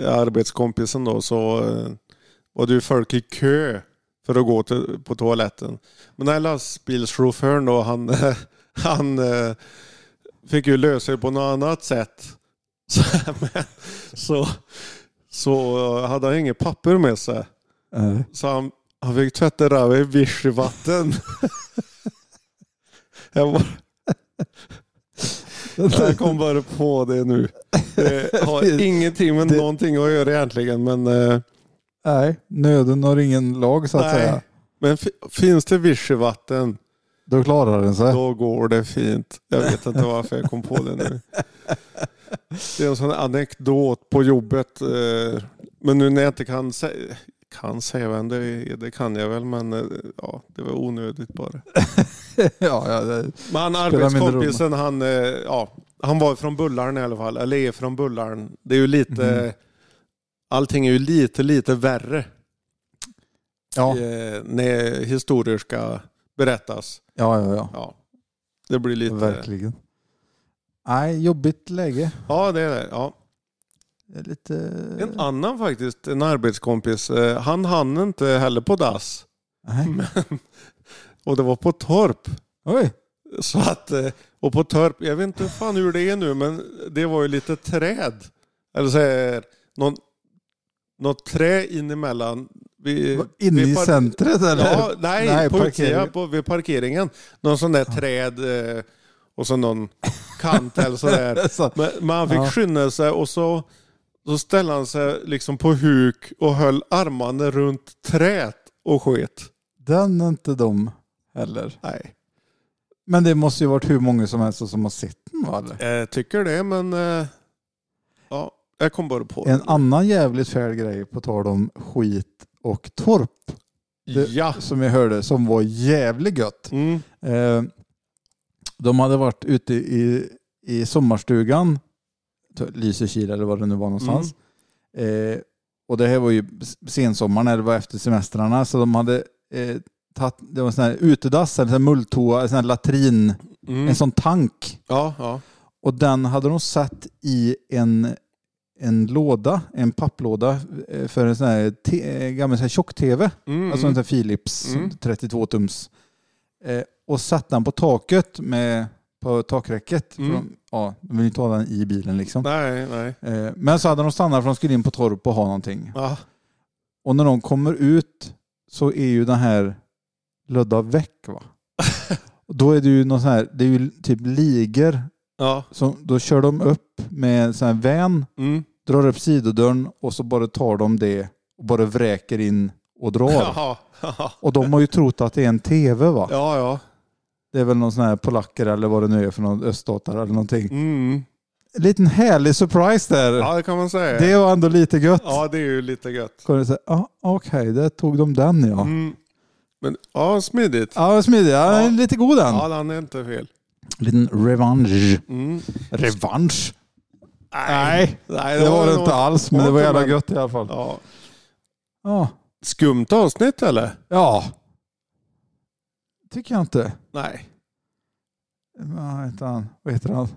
S3: eh, arbetskompisen då så eh, var det ju folk i kö för att gå till, på toaletten. Men den här lastbilschauffören då, han, han eh, fick ju lösa det på något annat sätt. Så, men, så, så hade han inget papper med sig.
S2: Eh,
S3: Så han, han fick tvätta röven i vichyvatten. Jag, bara- jag kom bara på det nu. Det har ingenting med
S2: Det-
S3: någonting att göra egentligen. Men, eh,
S2: Nej, nöden har ingen lag så att
S3: Nej.
S2: säga.
S3: men fi- finns det vichyvatten
S2: Då klarar den sig.
S3: då går det fint. Jag vet inte varför jag kom på det nu. Det är en sån anekdot på jobbet. eh, Men nu när jag inte kan säga kan säga vem det är, det kan jag väl, men eh, ja, det var onödigt bara.
S2: ja, ja, det,
S3: Men han
S2: mindre roll.
S3: arbetskompisen, han, eh, ja, han var från Bullarn i alla fall. Eller är från Bullarn. Det är ju lite...
S2: Mhm.
S3: Allting är ju lite, lite värre
S2: ja,
S3: eh, när historier ska berättas.
S2: ja, ja, ja.
S3: Ja, det blir lite...
S2: verkligen. Nej, jobbigt läge.
S3: Ja, det är det. Ja.
S2: Det är Lite...
S3: En annan faktiskt, en arbetskompis, eh, han hann inte heller på dass.
S2: Nej.
S3: Men, och det var på Torp.
S2: Oj,
S3: Så att, eh, och på Törp, jag vet inte fan hur det är nu, men det var ju lite träd. Eller så här, någon, något trä in emellan. Vid,
S2: inne
S3: vid
S2: i
S3: par-
S2: centret eller?
S3: Ja, nej,
S2: Nej,
S3: på
S2: parkeringen.
S3: utsidan, på, vid parkeringen. Någon sån där träd eh, och så någon kant eller sådär.
S2: Så,
S3: Men, men han fick
S2: Ja.
S3: skynda sig och så, så ställde han sig liksom på huk och höll armarna runt träet och sket.
S2: den är inte dum heller.
S3: Nej,
S2: Men det måste ju varit hur många som helst som har sett den va? Eller?
S3: jag tycker det, men eh, ja, jag kom bara på
S2: En annan jävligt ful grej på tal om skit och torp det-
S3: Ja.
S2: som jag hörde som var jävligt gött.
S3: Mm.
S2: Eh, de hade varit ute i, i sommarstugan, t- Lysekil eller vad det nu var någonstans. Eh, och det här var ju s- sensommaren eller var efter semestrarna så de hade eh, tagit, det var en sån här utedass, en sån här mulltoa, en sån här latrin,
S3: Mm.
S2: en sån tank.
S3: Ja, ja.
S2: Och den hade de satt i en, en låda, en papplåda eh, för en sån här te, eh, gammal sån här tjock-tv.
S3: Mm.
S2: Alltså en sån här Philips
S3: Mm.
S2: 32-tums. Eh, och satte den på taket med, på takräcket. För
S3: Mm.
S2: de, ja, de ville inte ha den i bilen liksom.
S3: Nej, nej.
S2: Eh, men så hade de stannat för de skulle in på torp och ha någonting.
S3: Ja.
S2: Och när de kommer ut så är ju den här lödda väck va. Och då är det ju någon sån här, det är ju typ ligor
S3: Ja.
S2: så då kör de upp med en sån här vän,
S3: Mm.
S2: drar upp sidodörren och så bara tar de det och bara vräker in och drar.
S3: Jaha. Ja,
S2: Och de har ju trott att det är en tv va?
S3: ja.
S2: Det är väl någon sån här polacker eller vad det nu är för någon öststatare eller någonting.
S3: Mm.
S2: liten härlig surprise där.
S3: Ja, det kan man säga.
S2: Det var ändå lite gött. Ja.
S3: Ja, det är ju lite gött.
S2: Ja, "Ah, Okej, där tog de den ja.
S3: Mm. Men ja, smidigt.
S2: Ja, vad smidig. Ja,
S3: Ja.
S2: Lite god den.
S3: Ja, han är inte fel.
S2: Liten revansch.
S3: Mm.
S2: Revansch? Nej,
S3: Nej,
S2: det var det inte
S3: nog-
S2: alls. Men det var
S3: Åter,
S2: jävla
S3: men-
S2: gött i alla fall.
S3: Ja.
S2: Ja.
S3: Skumt avsnitt eller?
S2: ja. Tycker jag inte.
S3: Nej.
S2: Vad heter han? Vad heter han?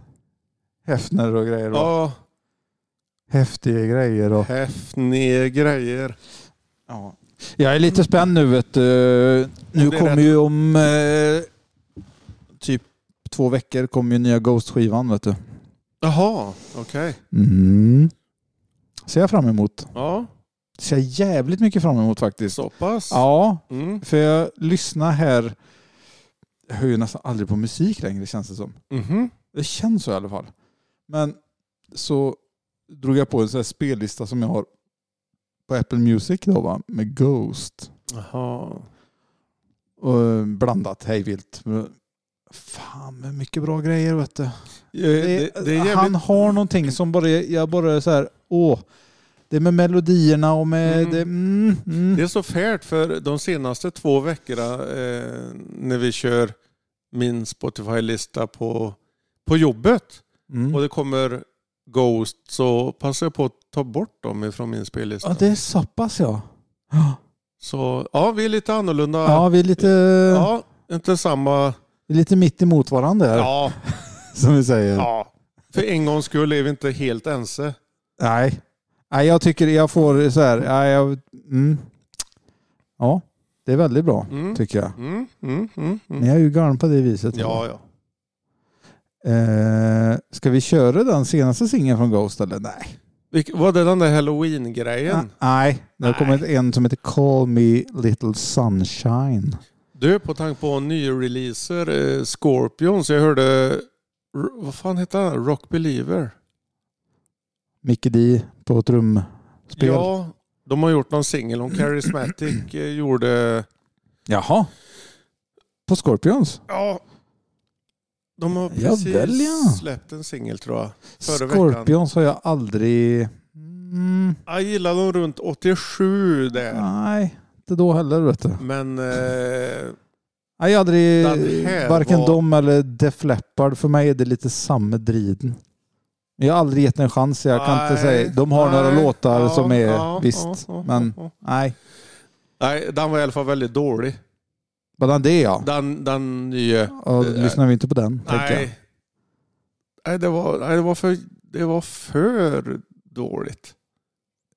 S2: Häfner och grejer. Och
S3: Ja,
S2: häftiga grejer. Och...
S3: häftiga grejer.
S2: Ja. Jag är lite spänd nu. Vet du.
S3: det
S2: Nu
S3: är
S2: kommer
S3: rätt.
S2: ju om eh, typ två veckor kommer ju nya Ghost-skivan. Vet du.
S3: Jaha, okej.
S2: Mm. Ser jag fram emot.
S3: Ja,
S2: Ser jag jävligt mycket fram emot faktiskt.
S3: så pass.
S2: Ja,
S3: Mm.
S2: för jag lyssnar här. Jag hör ju nästan aldrig på musik längre känns det som.
S3: Mhm.
S2: Det känns så i alla fall. Men så drog jag på en sån här spellista som jag har på Apple Music då va, med Ghost.
S3: Jaha. Eh,
S2: Och eh, blandat hejvilt. Men Fan vad mycket bra grejer vet du. Eh,
S3: Ja, Det, det är jävligt...
S2: Han har någonting som bara, jag bara är så här, åh. Det är med melodierna och med...
S3: Mm.
S2: Det, mm, mm.
S3: Det är så färt för de senaste två veckorna eh, när vi kör min Spotify-lista på, på jobbet
S2: Mm.
S3: och det kommer Ghost så passar jag på att ta bort dem ifrån min spellista.
S2: Ja, det är så pass ja.
S3: Så ja, vi är lite annorlunda.
S2: Ja, vi är lite,
S3: Ja, inte samma.
S2: vi är lite mitt emot varandra här,
S3: Ja,
S2: som vi säger.
S3: ja. För en gångs skull är vi inte helt ense.
S2: Nej. Nej, jag tycker jag får så här. Nej, jag, mm. Ja, det är väldigt bra
S3: Mm.
S2: tycker jag.
S3: Mm, mm, mm, mm.
S2: Ni är ju garn på det viset.
S3: Ja, ja.
S2: Eh, ska vi köra den senaste singeln från Ghost eller? Nej. Ah,
S3: Vilk- Var det den där halloween-grejen?
S2: Nej, det har
S3: Nej.
S2: kommit en som heter Call Me Little Sunshine.
S3: Du, på tanke på nyreleaser, eh, Scorpions, jag hörde, r- vad fan hette han? Rock Believer?
S2: Mickey D på trumspel.
S3: Ja, de har gjort någon singel om Charismatic eh, gjorde,
S2: Jaha. På Scorpions?
S3: ja, de har precis
S2: Javäl, ja.
S3: släppt en singel tror jag. Förra veckan.
S2: Scorpions har jag aldrig... Mm.
S3: Jag gillade dem runt 87 där.
S2: Nej, inte då heller vet du.
S3: Men eh,
S2: Nej, jag har aldrig,
S3: Den här
S2: varken
S3: var-
S2: dem eller Def Leppard. För mig är det lite samma driden. Men Jag har aldrig gett en chans. Jag kan inte
S3: nej,
S2: säga. De har några
S3: nej,
S2: låtar
S3: ja,
S2: som är,
S3: ja,
S2: visst.
S3: ja, ja,
S2: men
S3: ja.
S2: nej,
S3: Nej, den var i alla fall väldigt dålig.
S2: bara det ja.
S3: Den, den nya.
S2: Och då lyssnar vi inte på den. tänker jag.
S3: Nej. Nej, det var, nej det, var för, det var för dåligt.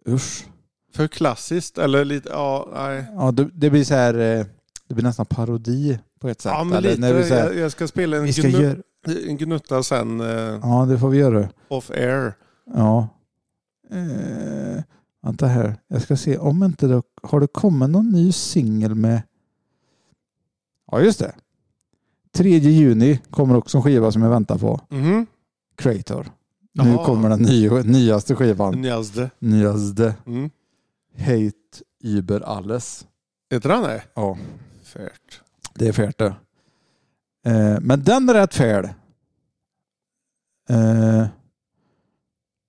S2: Usch.
S3: För klassiskt eller lite, ja, nej.
S2: Ja, det, det blir så här, eh, det blir nästan parodi på ett sätt.
S3: Ja, men
S2: eller?
S3: lite.
S2: När vi, så här,
S3: jag, jag ska spela en,
S2: vi ska
S3: gnu,
S2: göra...
S3: en gnutta sen eh,
S2: Ja, det får vi göra.
S3: off air.
S2: Ja. Eh, vänta här. Jag ska se om inte det har det kommit någon ny singel med... Ja, just det. 3 juni kommer också en skiva som jag väntar på.
S3: Mhm.
S2: Creator. Nu
S3: Jaha. Mm.
S2: kommer den nya, nyaste skivan.
S3: Njazde.
S2: Nyaste.
S3: Mm.
S2: Hate über alles.
S3: Heter han det?
S2: Ja,
S3: Färt.
S2: det är färt det. Eh, men den är rätt färd. Eh,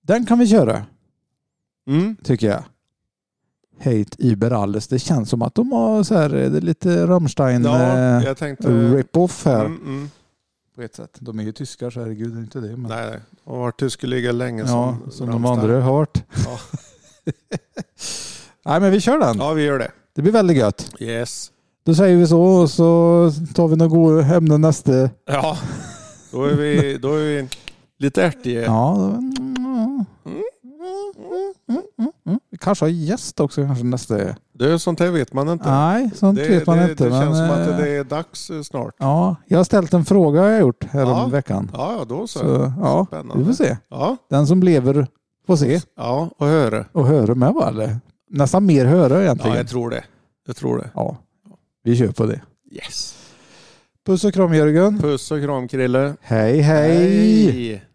S2: den kan vi köra.
S3: Mm.
S2: tycker jag. Hate über alles. Det känns som att de har så här, eh, det är lite Rammstein
S3: Ja,
S2: eh,
S3: jag tänkte...
S2: rip-off här.
S3: Mm, mm.
S2: På ett sätt. De är ju tyskar så herregud, det är inte det. Men...
S3: Nej, nej. De har varit tyskliga länge
S2: ja, som, de
S3: Rammstein.
S2: andra har varit.
S3: Ja.
S2: Nej men vi kör den.
S3: Ja, vi gör det.
S2: Det blir väldigt gött.
S3: Yes.
S2: Då säger vi så och så tar vi några goda ämnen nästa.
S3: Ja, då är vi, då är vi lite ärtiga.
S2: Ja. då- Mm. Mm, mm, mm. Vi kanske har gäst också kanske nästa.
S3: Det är sånt här vet man inte.
S2: Nej, sånt
S3: det,
S2: vet man
S3: det,
S2: inte.
S3: Det
S2: men,
S3: känns som att
S2: eh,
S3: det är dags eh, snart.
S2: Ja, jag har ställt en fråga har jag gjort här
S3: Ja.
S2: om veckan.
S3: Ja, ja då så.
S2: Så, ja,
S3: Spännande.
S2: vi får se.
S3: Ja,
S2: Den som lever får se
S3: ja och höra.
S2: och höra med va? Eller? Nästan mer höra
S3: Ja,
S2: egentligen.
S3: jag tror det. Jag tror det.
S2: Ja, vi kör på det.
S3: Yes.
S2: Puss och kram Jörgen.
S3: Puss och kram Krille.
S2: hej. hej.
S3: Hej.